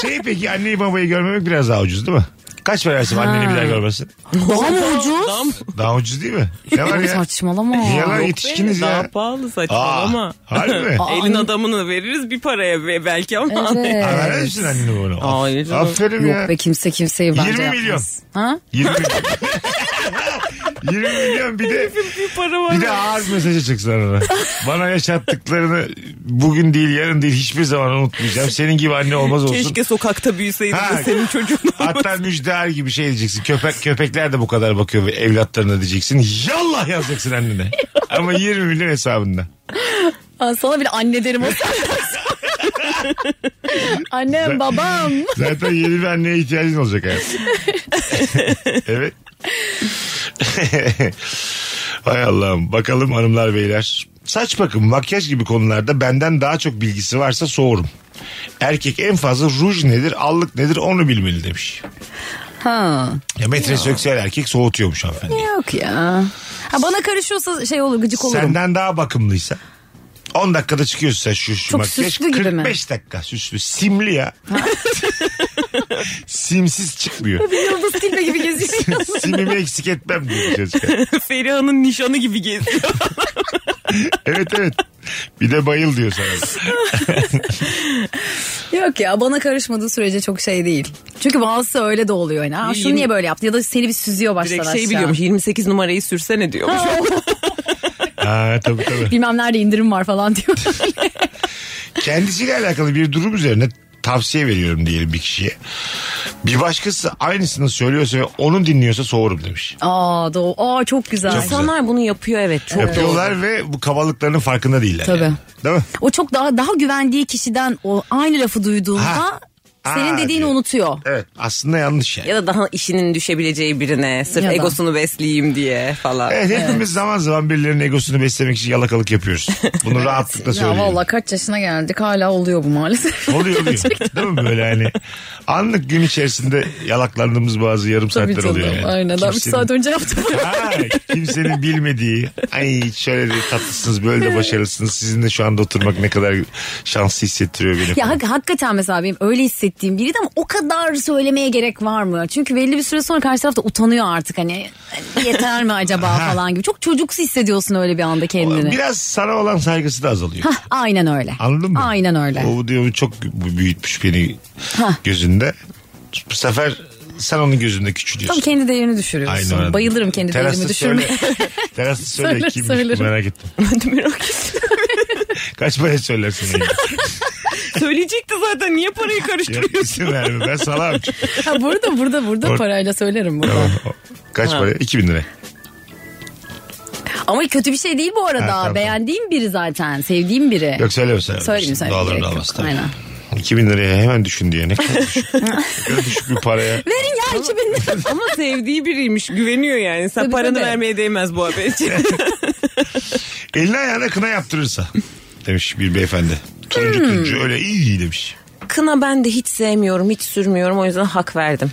[SPEAKER 3] Şey peki anneyi babayı görmemek biraz daha ucuz değil mi? Kaç para versin anneni bir daha görmesin?
[SPEAKER 5] Daha mı ucuz?
[SPEAKER 4] Adam
[SPEAKER 3] Daha ucuz değil mi? Ne var ya?
[SPEAKER 5] E Saçmalama.
[SPEAKER 3] Niye lan
[SPEAKER 4] Yok
[SPEAKER 3] yetişkiniz
[SPEAKER 4] be,
[SPEAKER 3] ya?
[SPEAKER 4] Daha pahalı
[SPEAKER 3] Aa,
[SPEAKER 4] saçmalama.
[SPEAKER 3] harbi mi? hani-
[SPEAKER 5] Aa,
[SPEAKER 4] Elin
[SPEAKER 5] anne-
[SPEAKER 4] adamını veririz bir paraya be- belki ama.
[SPEAKER 5] Evet.
[SPEAKER 3] Aa, Verir misin anneni bana?
[SPEAKER 4] Hayır canım.
[SPEAKER 3] Aferin ya.
[SPEAKER 5] Yok be kimse kimseyi bence
[SPEAKER 3] 20
[SPEAKER 5] yapmaz.
[SPEAKER 3] milyon.
[SPEAKER 5] Ha?
[SPEAKER 3] 20 milyon. 20 milyon bir de
[SPEAKER 4] bir para var.
[SPEAKER 3] bir de ağır mesajı çıksın arada. Bana yaşattıklarını bugün değil yarın değil hiçbir zaman unutmayacağım. Senin gibi anne olmaz olsun.
[SPEAKER 4] Keşke sokakta büyüseydi
[SPEAKER 3] Ha.
[SPEAKER 4] de senin çocuğun
[SPEAKER 3] Hatta müjdear gibi şey diyeceksin. Köpek köpekler de bu kadar bakıyor ve evlatlarına diyeceksin. Yallah yazacaksın annene. Ama 20 milyon hesabında.
[SPEAKER 5] Aa, Sana bile anne derim o saatten sonra. Annem babam.
[SPEAKER 3] Zaten yeni bir anneye ihtiyacın olacak hayatım. evet. Hay Allah'ım. Bakalım hanımlar beyler. Saç bakım, makyaj gibi konularda benden daha çok bilgisi varsa soğurum. Erkek en fazla ruj nedir, allık nedir onu bilmeli demiş.
[SPEAKER 5] Ha.
[SPEAKER 3] Ya metreseksüel erkek soğutuyormuş hanımefendi.
[SPEAKER 5] Yok ya. Ha, bana karışıyorsa şey olur gıcık olurum.
[SPEAKER 3] Senden daha bakımlıysa 10 dakikada çıkıyorsa şu, şu
[SPEAKER 5] Çok
[SPEAKER 3] makyaj
[SPEAKER 5] süslü gibi mi?
[SPEAKER 3] 45 dakika süslü simli ya. Simsiz çıkmıyor.
[SPEAKER 5] Yıldız tilbe gibi geziyor.
[SPEAKER 3] Simimi eksik etmem diyor çocuk.
[SPEAKER 4] Feriha'nın nişanı gibi geziyor.
[SPEAKER 3] Evet evet. Bir de bayıl diyor sana.
[SPEAKER 5] Yok ya bana karışmadığı sürece çok şey değil. Çünkü bazısı öyle de oluyor. Yani. Aa, şunu
[SPEAKER 4] Yirmi-
[SPEAKER 5] niye böyle yaptı ya da seni bir süzüyor baştan
[SPEAKER 4] Direkt
[SPEAKER 5] aşağı.
[SPEAKER 4] şey biliyormuş 28 numarayı sürsene diyormuş.
[SPEAKER 3] Aa, tabii tabii.
[SPEAKER 5] Bilmem nerede indirim var falan diyor.
[SPEAKER 3] Kendisiyle alakalı bir durum üzerine tavsiye veriyorum diyelim bir kişiye. Bir başkası aynısını söylüyorsa ve onu dinliyorsa soğurum demiş.
[SPEAKER 5] Aa, doğru. Aa çok güzel.
[SPEAKER 3] Çok güzel.
[SPEAKER 4] İnsanlar bunu yapıyor evet çok doğru.
[SPEAKER 3] Yapıyorlar ve bu kabalıklarının farkında değiller.
[SPEAKER 5] Tabii.
[SPEAKER 3] yani. Değil mi?
[SPEAKER 5] O çok daha daha güvendiği kişiden o aynı lafı duyduğunda
[SPEAKER 3] Ha.
[SPEAKER 5] senin
[SPEAKER 3] Aa,
[SPEAKER 5] dediğini
[SPEAKER 3] diyor.
[SPEAKER 5] unutuyor.
[SPEAKER 3] Evet. Aslında yanlış yani.
[SPEAKER 4] Ya da daha işinin düşebileceği birine sırf
[SPEAKER 5] Ya da.
[SPEAKER 4] egosunu besleyeyim diye falan.
[SPEAKER 3] Evet, hepimiz zaman zaman birilerinin egosunu beslemek için yalakalık yapıyoruz. Bunu rahatlıkla
[SPEAKER 5] Ya
[SPEAKER 3] söylüyorum.
[SPEAKER 5] valla kaç yaşına geldik hala oluyor bu maalesef.
[SPEAKER 3] Oluyor oluyor. Değil mi böyle hani anlık gün içerisinde yalaklandığımız bazı yarım
[SPEAKER 5] Tabii
[SPEAKER 3] saatler oluyor.
[SPEAKER 5] canım,
[SPEAKER 3] Yani.
[SPEAKER 5] Aynen. Daha 3
[SPEAKER 3] Kimsenin-
[SPEAKER 5] saat önce yaptım.
[SPEAKER 3] Ha, kimsenin bilmediği ay şöyle de tatlısınız böyle de başarılısınız sizinle şu anda oturmak ne kadar şanslı hissettiriyor beni.
[SPEAKER 5] ya
[SPEAKER 3] falan.
[SPEAKER 5] hak- hakikaten mesela benim öyle hisset ettiğim biriydi ama o kadar söylemeye gerek var mı? Çünkü belli bir süre sonra karşı taraf da utanıyor artık hani yeter mi acaba falan gibi. Çok çocuksu hissediyorsun öyle bir anda kendini.
[SPEAKER 3] Biraz sana olan saygısı da azalıyor.
[SPEAKER 5] Hah, aynen öyle.
[SPEAKER 3] Anladın mı?
[SPEAKER 5] Aynen öyle.
[SPEAKER 3] O diyor çok büyütmüş beni gözünde. Bu sefer sen onun gözünde
[SPEAKER 5] Tam
[SPEAKER 3] küçülüyorsun.
[SPEAKER 5] kendi değerini düşürüyorsun.
[SPEAKER 3] öyle.
[SPEAKER 5] Bayılırım kendi
[SPEAKER 3] Terasta
[SPEAKER 5] değerimi düşürmeye.
[SPEAKER 3] söyle. Terasta söyle
[SPEAKER 5] Söyle,
[SPEAKER 3] kimmiş
[SPEAKER 5] söylerim.
[SPEAKER 3] merak ettim.
[SPEAKER 4] Ben de merak ettim.
[SPEAKER 3] Kaç paraya söylersin? yayında?
[SPEAKER 4] Söyleyecekti zaten niye parayı
[SPEAKER 3] Yok
[SPEAKER 4] karıştırıyorsun?
[SPEAKER 3] isim verme ben salam.
[SPEAKER 5] ha, burada burada burada
[SPEAKER 3] Or-
[SPEAKER 5] parayla söylerim burada.
[SPEAKER 3] Kaç paraya? 2000 lira.
[SPEAKER 5] Ama kötü bir şey değil bu
[SPEAKER 3] Ha,
[SPEAKER 5] arada.
[SPEAKER 3] tamam.
[SPEAKER 5] Beğendiğim biri zaten. Sevdiğim biri.
[SPEAKER 3] Yok söyleme söyleme.
[SPEAKER 5] Söyleyeyim, söyleyeyim.
[SPEAKER 3] Dolarını
[SPEAKER 5] Gerek yok.
[SPEAKER 3] almaz tabii.
[SPEAKER 5] Aynen.
[SPEAKER 3] 2000 liraya hemen düşün diye ne kadar düşük. ne kadar düşük bir paraya.
[SPEAKER 5] Verin ya 2000 lira.
[SPEAKER 4] Ama sevdiği biriymiş güveniyor yani. Sen
[SPEAKER 5] Tabii,
[SPEAKER 4] paranı
[SPEAKER 5] tabii.
[SPEAKER 4] vermeye değmez bu haber için.
[SPEAKER 3] Eline ayağına kına yaptırırsa. Demiş bir beyefendi. Turuncu
[SPEAKER 5] Hmm.
[SPEAKER 3] turuncu öyle iyi iyi demiş.
[SPEAKER 4] Kına ben de hiç sevmiyorum hiç sürmüyorum o yüzden hak verdim.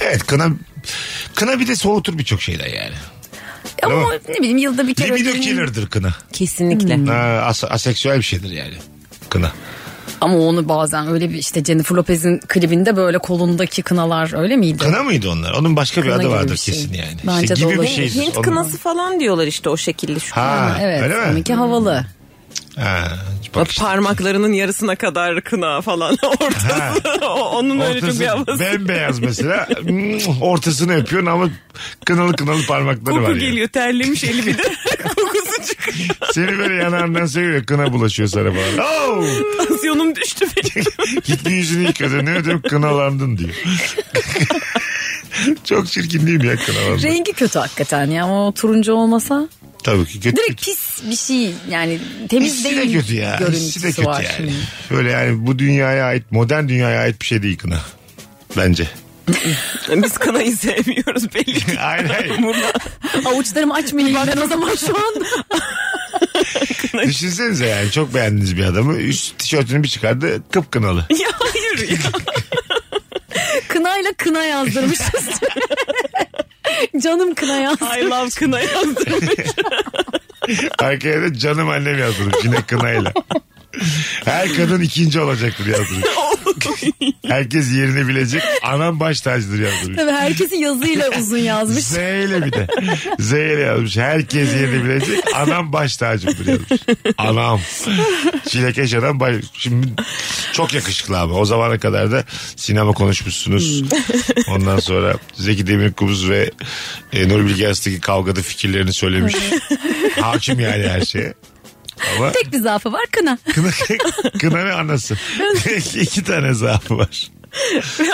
[SPEAKER 3] Evet kına kına bir de soğutur birçok şeyden yani.
[SPEAKER 5] Ama ne bileyim yılda bir kere.
[SPEAKER 3] Libido
[SPEAKER 5] öderim.
[SPEAKER 3] killer'dır kına.
[SPEAKER 4] Kesinlikle.
[SPEAKER 3] Ha, as- aseksüel bir şeydir yani kına.
[SPEAKER 5] Ama onu bazen öyle bir işte Jennifer Lopez'in klibinde böyle kolundaki kınalar öyle miydi?
[SPEAKER 3] Kına mıydı onlar? Onun başka bir
[SPEAKER 5] Kına
[SPEAKER 3] adı
[SPEAKER 5] gibi
[SPEAKER 3] vardır
[SPEAKER 5] bir şey.
[SPEAKER 3] kesin yani.
[SPEAKER 5] Bence
[SPEAKER 3] İşte
[SPEAKER 5] de
[SPEAKER 3] gibi bir
[SPEAKER 5] olabilir.
[SPEAKER 3] şeydir.
[SPEAKER 4] Hint
[SPEAKER 3] Onun-
[SPEAKER 4] kınası falan diyorlar işte o şekilde şu
[SPEAKER 3] Ha,
[SPEAKER 5] Evet.
[SPEAKER 3] öyle mi?
[SPEAKER 5] Onunki havalı.
[SPEAKER 3] Ha, bak işte.
[SPEAKER 4] Parmaklarının yarısına kadar kına falan
[SPEAKER 3] Ha.
[SPEAKER 4] ortası. O- Onun öyle çok bir
[SPEAKER 3] Ortası
[SPEAKER 4] havası.
[SPEAKER 3] bembeyaz mesela. Mm, Ortasını öpüyorsun ama kınalı kınalı parmakları var.
[SPEAKER 4] Koku
[SPEAKER 3] yani.
[SPEAKER 4] geliyor terlemiş eli bir de kokusu çıkıyor.
[SPEAKER 3] Seni böyle yanağından seviyor. Kına bulaşıyor sana falan. Oo!
[SPEAKER 4] Tansiyonum düştü benim.
[SPEAKER 3] Git bir yüzünü yıkadı. Ne ödüm kınalandın diyor. Çok çirkin değil mi ya kınalandın?
[SPEAKER 5] Rengi kötü hakikaten ya ama o turuncu olmasa.
[SPEAKER 3] Tabii ki. Kötü,
[SPEAKER 5] Direkt pis bir şey yani temiz
[SPEAKER 3] Hissi de
[SPEAKER 5] değil.
[SPEAKER 3] kötü ya. Hissi de
[SPEAKER 5] Görüntüsü
[SPEAKER 3] kötü
[SPEAKER 5] var
[SPEAKER 3] yani.
[SPEAKER 5] şimdi.
[SPEAKER 3] Böyle yani bu dünyaya ait, modern dünyaya ait bir şey değil kına. Bence.
[SPEAKER 4] Biz kınayı sevmiyoruz belli ki.
[SPEAKER 3] Aynen. hayır.
[SPEAKER 5] Avuçlarımı açmayayım ben o zaman şu anda.
[SPEAKER 3] Düşünsenize yani çok beğendiniz bir adamı. Üst tişörtünü bir çıkardı kıpkınalı.
[SPEAKER 4] Ya hayır ya.
[SPEAKER 5] Kınayla kına yazdırmışız. Canım kına yaz.
[SPEAKER 4] I love kına yazdım.
[SPEAKER 3] Arkaya da canım annem yazdırmış yine kınayla. Her kadın ikinci olacaktır yazdırmış. Herkes yerini bilecek. Anam baş tacıdır yazdırmış.
[SPEAKER 5] Tabii herkesin yazıyla uzun yazmış.
[SPEAKER 3] Z ile bir de. Z ile yazmış. Herkes yerini bilecek. Anam baş tacımdır yazmış. Anam. Çilekeş adam baş... Şimdi çok yakışıklı abi. O zamana kadar da sinema konuşmuşsunuz. Ondan sonra Zeki Demirkubuz ve e, Nuri Bilge Arasındaki kavgada fikirlerini söylemiş. Hakim yani her şeye. Ama
[SPEAKER 5] Tek bir zaafı var kına.
[SPEAKER 3] kına, kına ve anası. İki tane zaafı var.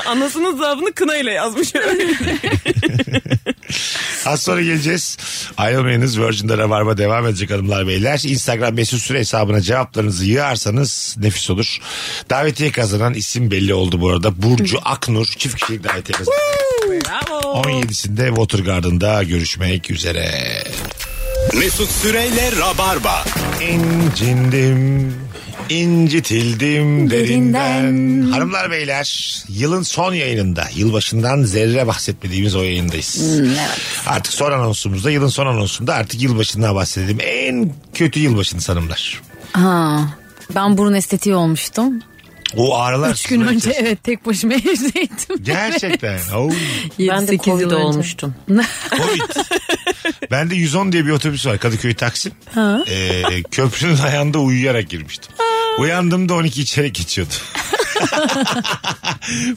[SPEAKER 4] Anasının zaafını kınayla yazmış. Öyle.
[SPEAKER 3] Az sonra geleceğiz. Ayrılmayınız. Virgin'de Rabarba devam edecek hanımlar beyler. Instagram mesut süre hesabına cevaplarınızı yığarsanız nefis olur. Davetiye kazanan isim belli oldu bu arada. Burcu Aknur çift kişilik davetiye kazandı.
[SPEAKER 4] Bravo.
[SPEAKER 3] 17'sinde Water Garden'da görüşmek üzere.
[SPEAKER 2] Mesut Süreyle Rabarba.
[SPEAKER 3] İncindim, incitildim derinden.
[SPEAKER 5] Derinden.
[SPEAKER 3] Hanımlar beyler yılın son yayınında yılbaşından zerre bahsetmediğimiz o yayındayız.
[SPEAKER 5] Hmm,
[SPEAKER 3] Artık son anonsumuzda yılın son anonsunda artık yılbaşından bahsedelim. En kötü yılbaşını sanımlar.
[SPEAKER 5] Ha, ben burun estetiği olmuştum.
[SPEAKER 3] O ağrılar.
[SPEAKER 5] Üç gün önce evet tek başıma evdeydim.
[SPEAKER 3] Gerçekten. Oo,
[SPEAKER 5] Yedi,
[SPEAKER 4] Ben de
[SPEAKER 5] sekiz
[SPEAKER 4] Covid
[SPEAKER 5] yıl önce.
[SPEAKER 4] olmuştum.
[SPEAKER 3] Covid. Bende 110 diye bir otobüs var Kadıköy Taksim. Ee, köprünün ayağında uyuyarak girmiştim. Uyandığımda 12 içeri geçiyordu.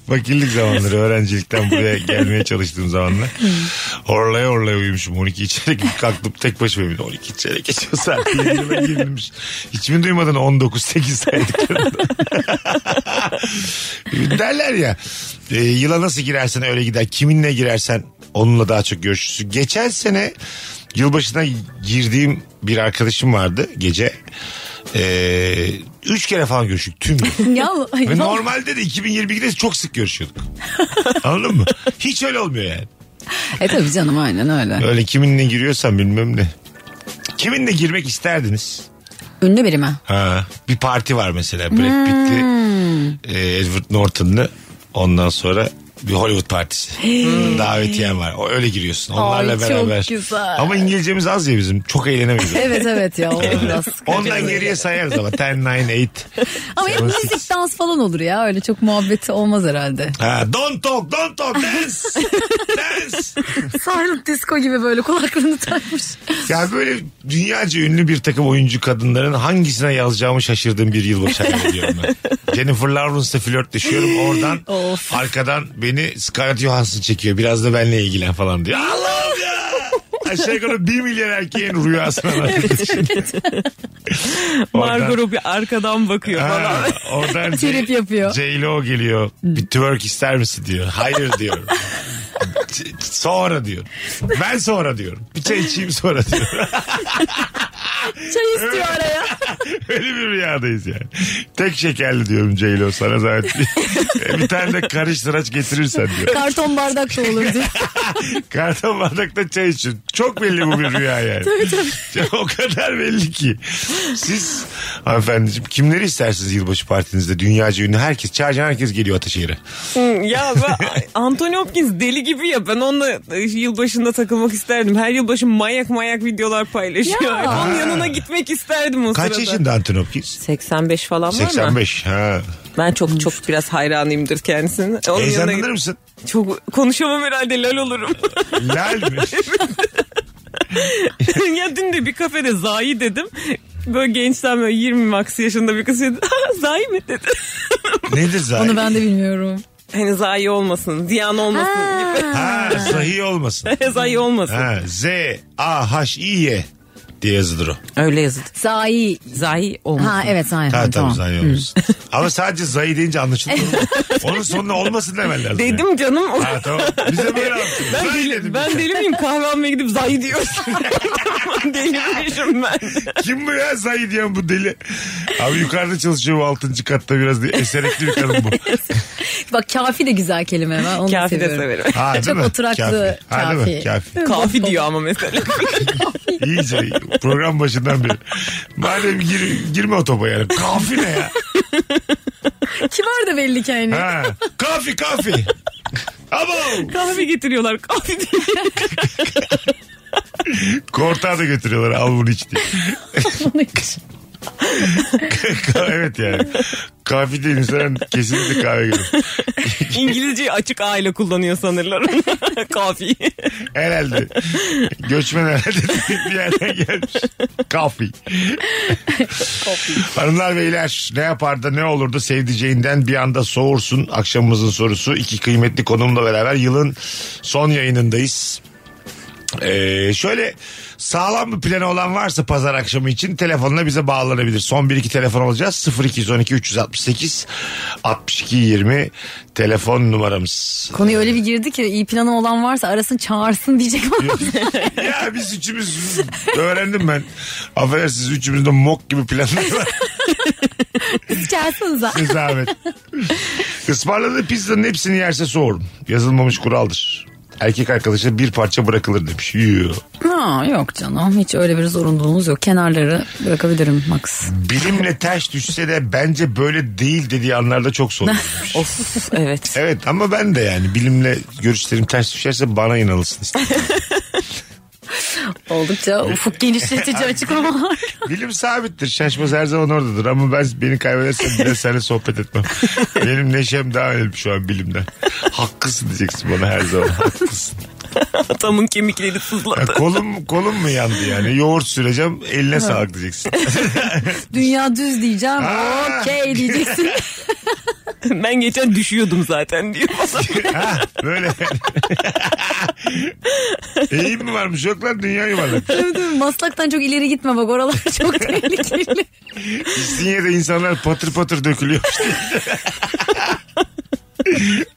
[SPEAKER 3] Fakirlik zamanları öğrencilikten buraya gelmeye çalıştığım zamanlar. Orlaya orlaya uyumuşum 12 içeri kalktım tek başıma evimde 12 içeri geçiyor saat yedime girilmiş. Hiçbir duymadan 19 8 saydık. Derler ya e, yıla nasıl girersen öyle gider. Kiminle girersen onunla daha çok görüşürsün. Geçen sene yılbaşına girdiğim bir arkadaşım vardı gece. E, üç kere falan görüştük tüm gün.
[SPEAKER 5] Ya,
[SPEAKER 3] Ve
[SPEAKER 5] ya-
[SPEAKER 3] normalde de 2022'de çok sık görüşüyorduk. Anladın mı? Hiç öyle olmuyor yani.
[SPEAKER 5] E tabii canım aynen öyle.
[SPEAKER 3] Öyle kiminle giriyorsan bilmem ne. Kiminle girmek isterdiniz?
[SPEAKER 5] Ünlü biri mi?
[SPEAKER 3] Ha, bir
[SPEAKER 5] Hmm.
[SPEAKER 3] parti var mesela Brad Pitt'li e, Edward Norton'lı. Ondan sonra bir Hollywood partisi. Davetiyen var. O öyle giriyorsun. Onlarla
[SPEAKER 5] Ay, çok
[SPEAKER 3] beraber.
[SPEAKER 5] güzel.
[SPEAKER 3] Ama İngilizcemiz az ya bizim. Çok eğlenemeyiz.
[SPEAKER 5] Evet evet ya. olur biraz.
[SPEAKER 3] Ondan geriye sayarız ama. 10, 9, 8.
[SPEAKER 5] Ama hep müzik dans falan olur ya. Öyle çok muhabbeti olmaz herhalde.
[SPEAKER 3] Ha, don't talk, don't talk, dance, dance.
[SPEAKER 5] Silent disco gibi böyle kulaklığını takmış.
[SPEAKER 3] Ya böyle dünyaca ünlü bir takım oyuncu kadınların hangisine yazacağımı şaşırdığım bir yılbaşı hayal ediyorum ben. Jennifer Lawrence'la flörtleşiyorum oradan
[SPEAKER 5] Of.
[SPEAKER 3] arkadan beni Scarlett Johansson çekiyor biraz da benimle ilgilen falan diyor. Allah'ım ya! Aşağı yukarı bir milyon erkeğin rüyasına bak. Oradan-
[SPEAKER 4] Margot bir arkadan bakıyor
[SPEAKER 3] Ha,
[SPEAKER 4] falan.
[SPEAKER 3] oradan
[SPEAKER 5] Trip yapıyor. Hmm.
[SPEAKER 3] J-Lo geliyor. Bir twerk ister misin diyor. Hayır diyorum. C- sonra diyor. Ben sonra diyorum. Bir çay içeyim sonra diyor.
[SPEAKER 5] Çay istiyor araya.
[SPEAKER 3] Öyle bir rüyadayız yani. Tek şekerli diyorum Ceylo sana zaten. bir tane de karış sıraç getirirsen diyor.
[SPEAKER 5] Karton bardak da olur diye.
[SPEAKER 3] Karton bardakta çay için. Çok belli bu bir rüya yani. o kadar belli ki. Siz hanımefendiciğim kimleri istersiniz yılbaşı partinizde? Dünyaca ünlü herkes. Çağıracağın herkes geliyor Ataşehir'e.
[SPEAKER 4] ya ben Anthony Hopkins deli gibi ya. Ben onunla e, yılbaşında takılmak isterdim. Her yılbaşı manyak manyak videolar paylaşıyor.
[SPEAKER 5] Ya.
[SPEAKER 4] Onun yanına gitmek isterdim o
[SPEAKER 3] Kaç
[SPEAKER 4] sırada.
[SPEAKER 3] yaşında Anton Hopkins?
[SPEAKER 4] 85 falan var mı?
[SPEAKER 3] 85. Ha.
[SPEAKER 4] Ben çok çok biraz hayranıyımdır kendisine. Onun
[SPEAKER 3] Heyecanlanır
[SPEAKER 4] yanına-
[SPEAKER 3] mısın?
[SPEAKER 4] Çok konuşamam herhalde lal olurum.
[SPEAKER 3] Lal mi?
[SPEAKER 4] ya dün de bir kafede zayi dedim. Böyle gençten böyle 20 max yaşında bir kız dedi. "Ha, zayi mi dedi.
[SPEAKER 3] Nedir zaten?
[SPEAKER 5] Onu ben de bilmiyorum.
[SPEAKER 4] Hani zayi olmasın, ziyan olmasın gibi.
[SPEAKER 3] Ha, sahi olmasın.
[SPEAKER 4] zayi olmasın.
[SPEAKER 3] Ha, Z A H I Y diye yazılır o.
[SPEAKER 4] Öyle yazıldı.
[SPEAKER 5] Zayi.
[SPEAKER 4] Zayi olmasın.
[SPEAKER 5] Ha evet zayi.
[SPEAKER 3] Ha, tamam.
[SPEAKER 5] tamam.
[SPEAKER 3] Zayi olmasın. Ama sadece Zayi deyince anlaşılır mı? Onun sonuna olmasın demen lazım. yani.
[SPEAKER 4] Dedim canım.
[SPEAKER 3] Ha tamam. Bize böyle anlatın.
[SPEAKER 4] Ben,
[SPEAKER 3] Zayi
[SPEAKER 4] deli,
[SPEAKER 3] dedim.
[SPEAKER 4] ben deli miyim? Kahvehaneye gidip zayi diyorsun. Delirmişim ben.
[SPEAKER 3] Kim bu ya Zayi diyen bu deli? Abi yukarıda çalışıyor bu altıncı katta biraz diye. eserekli bir kadın bu.
[SPEAKER 5] Bak kafi de güzel kelime. Ben onu da
[SPEAKER 4] Kafi de
[SPEAKER 5] seviyorum.
[SPEAKER 4] severim.
[SPEAKER 3] Ha, değil
[SPEAKER 5] Çok
[SPEAKER 3] mi?
[SPEAKER 5] oturaklı
[SPEAKER 3] Kafi. Ha, değil mi?
[SPEAKER 5] kafi.
[SPEAKER 3] Kafi.
[SPEAKER 4] Kafi diyor ama mesela.
[SPEAKER 3] İyice program başından beri. Madem gir, girme o topa yani. Kafi ne ya?
[SPEAKER 5] Kim var da belli ki yani.
[SPEAKER 3] Ha. Kafi kafi. Abo.
[SPEAKER 4] Kahve getiriyorlar. Kahve diyor.
[SPEAKER 3] Kortağı da götürüyorlar al bunu iç diye. Ka- evet yani. Kahve değil insan kesinlikle kahve gelir.
[SPEAKER 4] İngilizceyi açık A ile kullanıyor sanırlar. onu. Kafi.
[SPEAKER 3] Herhalde. Göçmen herhalde bir yerden gelmiş. Kahve. Hanımlar beyler ne yapar da ne olur da sevdiceğinden bir anda soğursun. Akşamımızın sorusu iki kıymetli konumla beraber yılın son yayınındayız. Ee, şöyle sağlam bir planı olan varsa pazar akşamı için telefonla bize bağlanabilir. Son 1-2 telefon alacağız. 0212 368 62 20 telefon numaramız.
[SPEAKER 5] Konuya öyle bir girdi ki iyi planı olan varsa arasın çağırsın diyecek ama
[SPEAKER 3] ya biz üçümüz öğrendim ben. Affedersiniz üçümüzde mok gibi planlar var.
[SPEAKER 5] çağırsınız ha.
[SPEAKER 3] Ne zahmet. Ismarladığı pizzanın hepsini yerse soğurum. Yazılmamış kuraldır. Erkek arkadaşa bir parça bırakılır demiş. Yuh.
[SPEAKER 5] Ha, yok canım hiç öyle bir zorunluluğumuz yok. Kenarları bırakabilirim Max.
[SPEAKER 3] Bilimle ters düşse de bence böyle değil dediği anlarda çok soğurum demiş.
[SPEAKER 4] of evet.
[SPEAKER 3] Evet ama ben de yani bilimle görüşlerim ters düşerse bana inanılsın istedim.
[SPEAKER 5] Oldukça ufuk genişletici açıklamalar.
[SPEAKER 3] Bilim sabittir. Şaşmaz her zaman oradadır ama ben beni kaybedersen bile seninle sohbet etmem. Benim neşem daha önemli şu an bilimden. Haklısın diyeceksin bana her zaman. Haklısın.
[SPEAKER 4] Atamın kemikleri
[SPEAKER 3] Ya
[SPEAKER 4] sızladı.
[SPEAKER 3] kolum kolum mu yandı yani? Yoğurt süreceğim eline sağlık diyeceksin.
[SPEAKER 5] Dünya düz diyeceğim.
[SPEAKER 3] Ha.
[SPEAKER 5] Okey diyeceksin.
[SPEAKER 4] Ben geçen düşüyordum zaten diyor.
[SPEAKER 3] ha, böyle. Eğim mi varmış yok lan dünya yuvarlak.
[SPEAKER 5] Tabii, tabii. Maslaktan çok ileri gitme bak oralar çok tehlikeli.
[SPEAKER 3] İstinye'de insanlar patır patır dökülüyor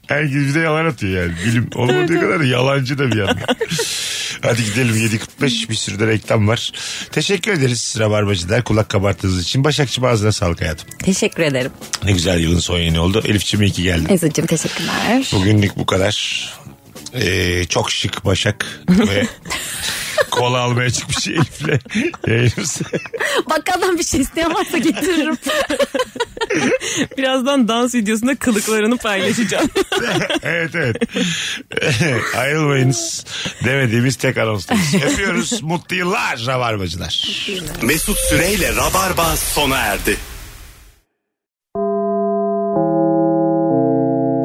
[SPEAKER 3] Herkes bir de yalan atıyor yani. Bilim olmadığı kadar yalancı da bir yandan. Hadi gidelim 7.45 bir sürü de reklam var. Teşekkür ederiz Rabarbacılar kulak kabarttığınız için. Başakçı ağzına sağlık hayatım.
[SPEAKER 5] Teşekkür ederim.
[SPEAKER 3] Ne güzel yılın son yeni oldu. Elifçim iyi ki geldin.
[SPEAKER 5] Ezgi'cim teşekkürler.
[SPEAKER 3] Bugünlük bu kadar. Ee, çok şık Başak ve kola almaya çıkmış Elif'le yayınımız.
[SPEAKER 5] Bakkaldan bir şey isteyen varsa getiririm.
[SPEAKER 4] Birazdan dans videosunda kılıklarını paylaşacağım.
[SPEAKER 3] evet evet. Ayrılmayınız demediğimiz tek anonstayız. Öpüyoruz. Mutlu yıllar rabarbacılar.
[SPEAKER 2] Mesut Süreyle Rabarba sona erdi.